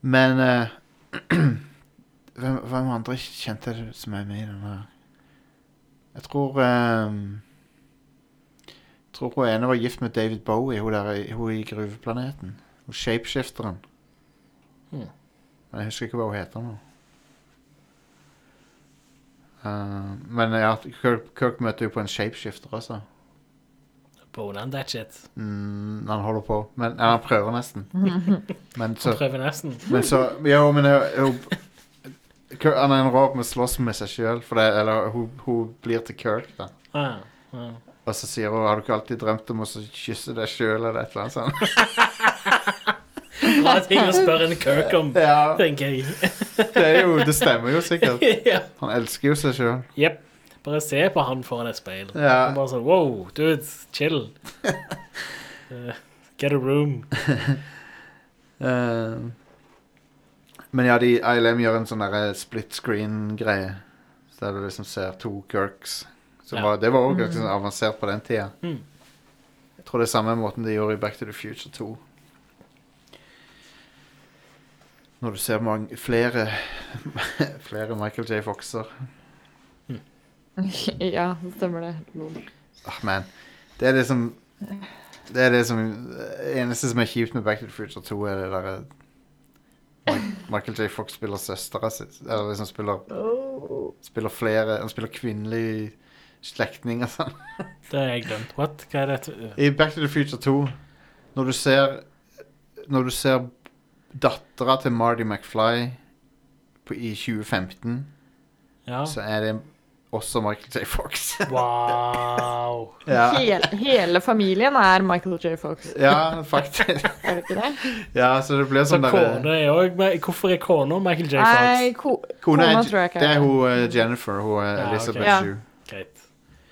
men eh, hvem, hvem andre kjente jeg som er med i den her? Jeg tror ehm, Jeg tror hun ene var gift med David Bowie, hun, der, i- hun i Gruveplaneten. Hun shapeshifteren. Men jeg husker ikke hva hun heter nå. Eh, men ja, Kirk, Kirk møter jo på en shapeshifter også.
Boner han that shit.
Mm, han holder på. Men, ja, han prøver nesten. Men så,
Prøver nesten.
men så Jo, men jeg, jeg- Kirk, han er en rå med å slåss med seg sjøl, eller hun, hun blir til Kirk, da.
Ah, ja.
Og så sier hun 'Har du ikke alltid drømt om å så kysse deg sjøl', eller et eller annet sånt.
Bra ting å spørre en Kirk om,
Ja,
tenker jeg.
det, er jo, det stemmer jo sikkert.
ja.
Han elsker jo seg sjøl.
Jep. Bare se på han foran et speil.
Ja.
Og Bare sånn, wow, dude, chill. Eh, get a room.
Eh, men ja, de, ILM gjør en sånn derre split screen-greie. Så der du liksom ser to Kirks. Som
Ja.
var, det var òg ganske sånn avansert på den tida.
Mm.
Jeg tror det er samme måten de gjorde i Back to the Future 2. Når du ser mange, flere Flere Michael J. Foxer.
ja, det stemmer det. Lol.
Ah, man. Det er liksom Det er det som det eneste som er kjipt med Back to the Future 2, er det derre Mi- Michael J. Fox spiller søstera si. Eller liksom spiller Spiller flere Han spiller kvinnelig slektning og sånn.
Det har jeg glemt. What? Hva er det?
I Back to the Future 2, når du ser Når du ser dattera til Marty McFly på, i 2015,
Ja.
så er det også Michael J. Fox.
Wow.
ja.
Hele, hele familien er Michael J. Fox,
ja, faktisk.
er det ikke det?
Ja, så det blir
Så
sånn derre-
kone er òg med Hvorfor er kona Michael J.
Nei,
Fox?
ko
Kona
Kona
er,
tror jeg ikke
det er
er.
hun eh, Jennifer, hun er
Ja, ok.
Elizabeth
Ja.
Shue.
Greit.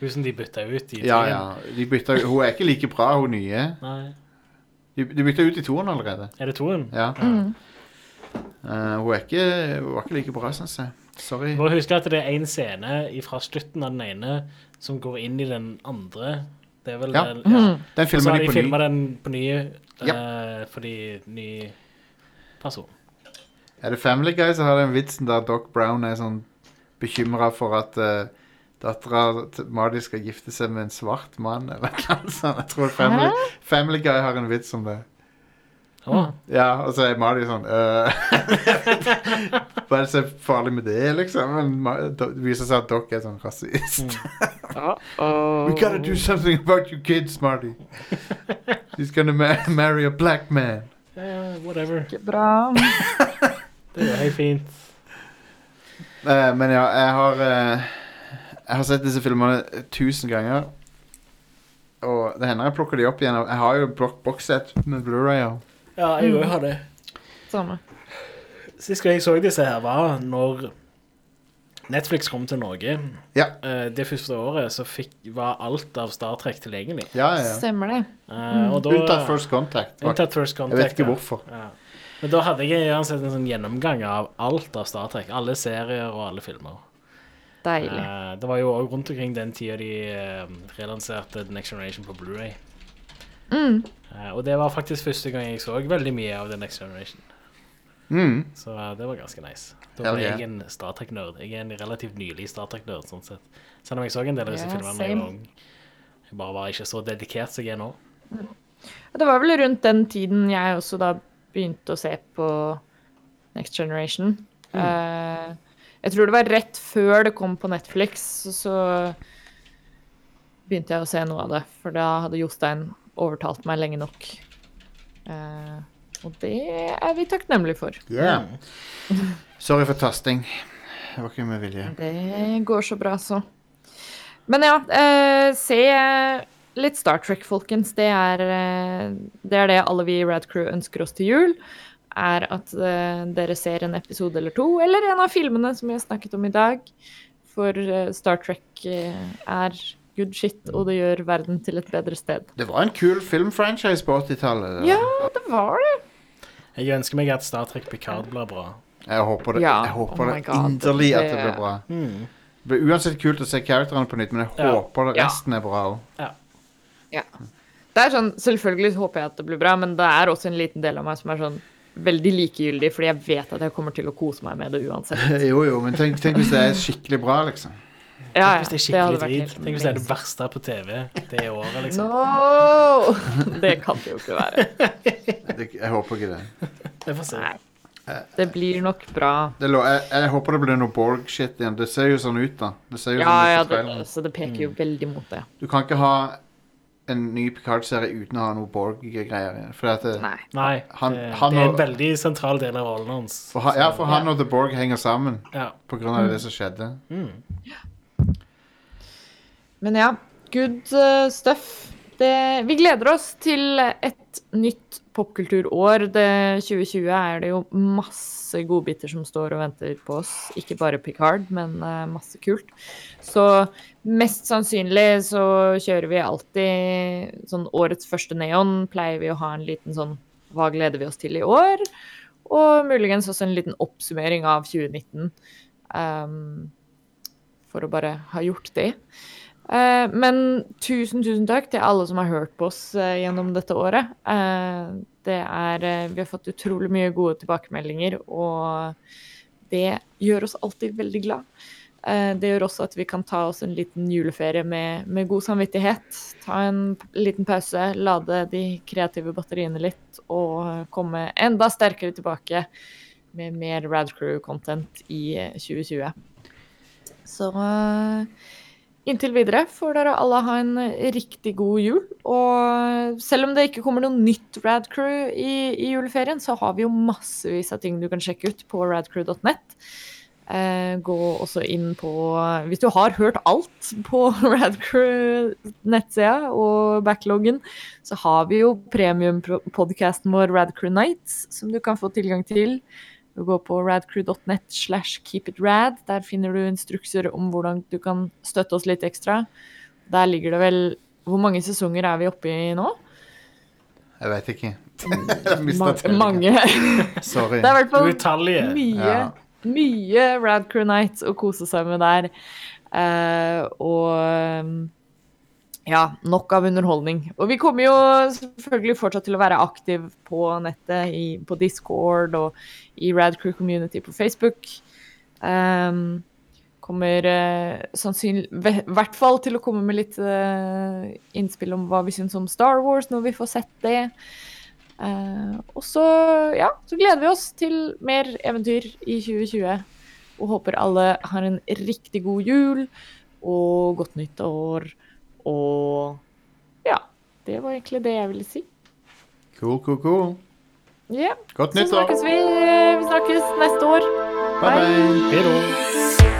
Hun som de bytta ut i
Ja,
tiden.
ja. De bytta, hun er ikke like bra, hun nye.
Nei.
De, de bytta ut i toeren allerede.
Mm.
Er det toen?
Ja. Eh, hun, er ikke, hun var ikke like bra, syns jeg. Sorry.
Bare husk at det er én scene fra slutten av den ene som går inn i den andre. Det er vel
Ja.
den, ja.
Den
Og så
filmen
har
de
de
på ny.
filma den på ny
Ja.
eh, fordi ny person.
Er det Family Guy som har den vitsen der Doc Brown er sånn bekymra for at uh, dattera til Marty skal gifte seg med en svart mann, eller noe sånt? Jeg tror Family, Family Guy har en vits om det.
Å,
Ja, og så er Marty sånn øh, Hva er det så farlig med det, liksom? Men Ma- det viser seg at Doc er sånn rasist. We gotta do something about you kids, Marty. She's gonna ma marry a black man.
eh, whatever.
Ikke bra.
Det går helt fint.
Eh, men ja, jeg har eh, Jeg har sett disse filmene tusen ganger. Og det hender jeg plukker de opp igjen. og Jeg har jo blok- bokssett med Blu-rayer.
Ja, jeg òg har det.
Samme.
Sist gang jeg så disse her, var når Netflix kom til Norge.
Ja.
Eh, det første året så fikk, var alt av Star Trek tilgjengelig.
Ja, ja. ja.
Stemmer det.
Eh, og da,
Unntatt First Contact. faktisk.
Unntatt First Contact.
Jeg vet ikke
ja.
hvorfor.
Ja. Men da hadde jeg uansett en sånn gjennomgang av alt av Star Trek. Alle serier og alle filmer.
Deilig.
Eh, det var jo også rundt omkring den tida de eh, relanserte The Next Generation på Blu-ray.
Mm.
Eh, og det var faktisk første gang jeg så veldig mye av The Next Generation.
Mm.
Så eh, det var ganske nice. Da
Hell
ble
yeah.
jeg en Star Trek-nerd. Jeg er en relativt nylig Star Trek-nerd, sånn sett. Selv om jeg så en del av disse
Ja,
filmene da jeg
same.
var ung. Jeg bare var ikke så dedikert som jeg er nå.
Det var vel rundt den tiden jeg også da begynte å se på Next Generation. Eh, jeg tror det var rett før det kom på Netflix, så- så begynte jeg å se noe av det. For da hadde Jostein overtalt meg lenge nok. Eh, og det er vi takknemlige for.
Yeah. Sorry for tasting. Det var ikke med vilje.
Det går så bra, så. Men ja, eh, se litt Star Trek, folkens. Det er, eh, det er det alle vi i Rad Crew ønsker oss til jul. Er at eh, dere ser en episode eller to, eller en av filmene som vi har snakket om i dag. For eh, Star Trek eh, er good shit, og det gjør verden til et bedre sted.
Det var en kul filmfranchise på 80-tallet.
Ja, det var det.
Jeg ønsker meg at Star Trek Picard blir bra.
Jeg håper det,
Ja,
jeg håper
oh my
det
God,
inderlig at det
det- mm.
blir bra. Det blir uansett kult å se karakterene på nytt, men jeg
Ja.
håper det
Ja.
resten er bra òg.
Det er sånn, Selvfølgelig håper jeg at det blir bra, men det er også en liten del av meg som er sånn veldig likegyldig, fordi jeg vet at jeg kommer til å kose meg med det uansett.
Jo, jo, men tenk, tenk hvis det er skikkelig bra, liksom.
Ja,
Tenk hvis det er skikkelig drit. Tenk hvis det er det verste på TV det året, liksom.
No! Det kan det jo ikke være.
Det, jeg håper ikke det.
Vi får se.
Nei. Det blir nok bra.
det lå, jeg, jeg håper det blir noe Borg-shit igjen. Det ser jo sånn ut, da. Det ser jo
Ja,
sånn
ja,
ut på
det,
traileren.
så det peker
Mm.
jo veldig mot det.
Du kan ikke ha en ny Picard-serie uten å ha noe Borg-greier igjen. For, at det,
Nei.
Nei,
Han-
det,
han
det er en
og-
veldig sentral del av rollen hans.
for, ha- ja, for han og The Borg henger sammen
Ja.
på grunn
Mm.
av det som skjedde.
Men ja, good eh, stuff. Det, vi gleder oss til et nytt popkulturår. Det 2020 er det jo masse godbiter som står og venter på oss. Ikke bare Picard, men eh, masse kult. Så mest sannsynlig så kjører vi alltid sånn årets første neon. Pleier vi å ha en liten sånn Hva gleder vi oss til i år? Og muligens også en liten oppsummering av 2019. ehm, for å bare ha gjort det. Eh, men tusen, tusen takk til alle som har hørt på oss eh, gjennom dette året. Eh, det er, eh, vi har fått utrolig mye gode tilbakemeldinger, og det gjør oss alltid veldig glad. Eh, det gjør også at vi kan ta oss en liten juleferie med, med god samvittighet. Ta en p- liten pause, lade de kreative batteriene litt, og eh, komme enda sterkere tilbake med mer Radcrew-content i eh, 2020. Så eh, Inntil videre får dere alle ha en riktig god jul. Og selv om det ikke kommer noe nytt Rad Crew i, i juleferien, så har vi jo massevis av ting du kan sjekke ut på radcrew.net. Eh, gå også inn på Hvis du har hørt alt på Radcrew-nettsida og backloggen, så har vi jo premiumpodkasten vår Radcrew Nights, som du kan få tilgang til. Du går på radcrew.net slash keepitrad. Der finner du instrukser om hvordan du kan støtte oss litt ekstra. Der ligger det vel Hvor mange sesonger er vi oppe i nå?
Jeg vet ikke. Jeg mistet
Mange.
tellingen.
mange. det er
Sorry.
i hvert fall
Utallige.
mye,
Ja.
mye Radcrew Nights å kose seg med der. Eh, og um, ja, nok av underholdning. Og vi kommer jo selvfølgelig fortsatt til å være aktiv på nettet, i, på Discord og i Radcrew Community på Facebook. Um, kommer eh, sannsynlig ve- hvert fall til å komme med litt eh, innspill om hva vi syns om Star Wars når vi får sett det. Eh, og så, ja, så gleder vi oss til mer eventyr i 2020. Og håper alle har en riktig god jul og godt nytt år. Og ja. Det var egentlig det jeg ville si.
Cool, cool, cool.
Ja,
Godt
så
nyttår.
snakkes vi. Vi snakkes neste år.
Bye, bye.
Hei da.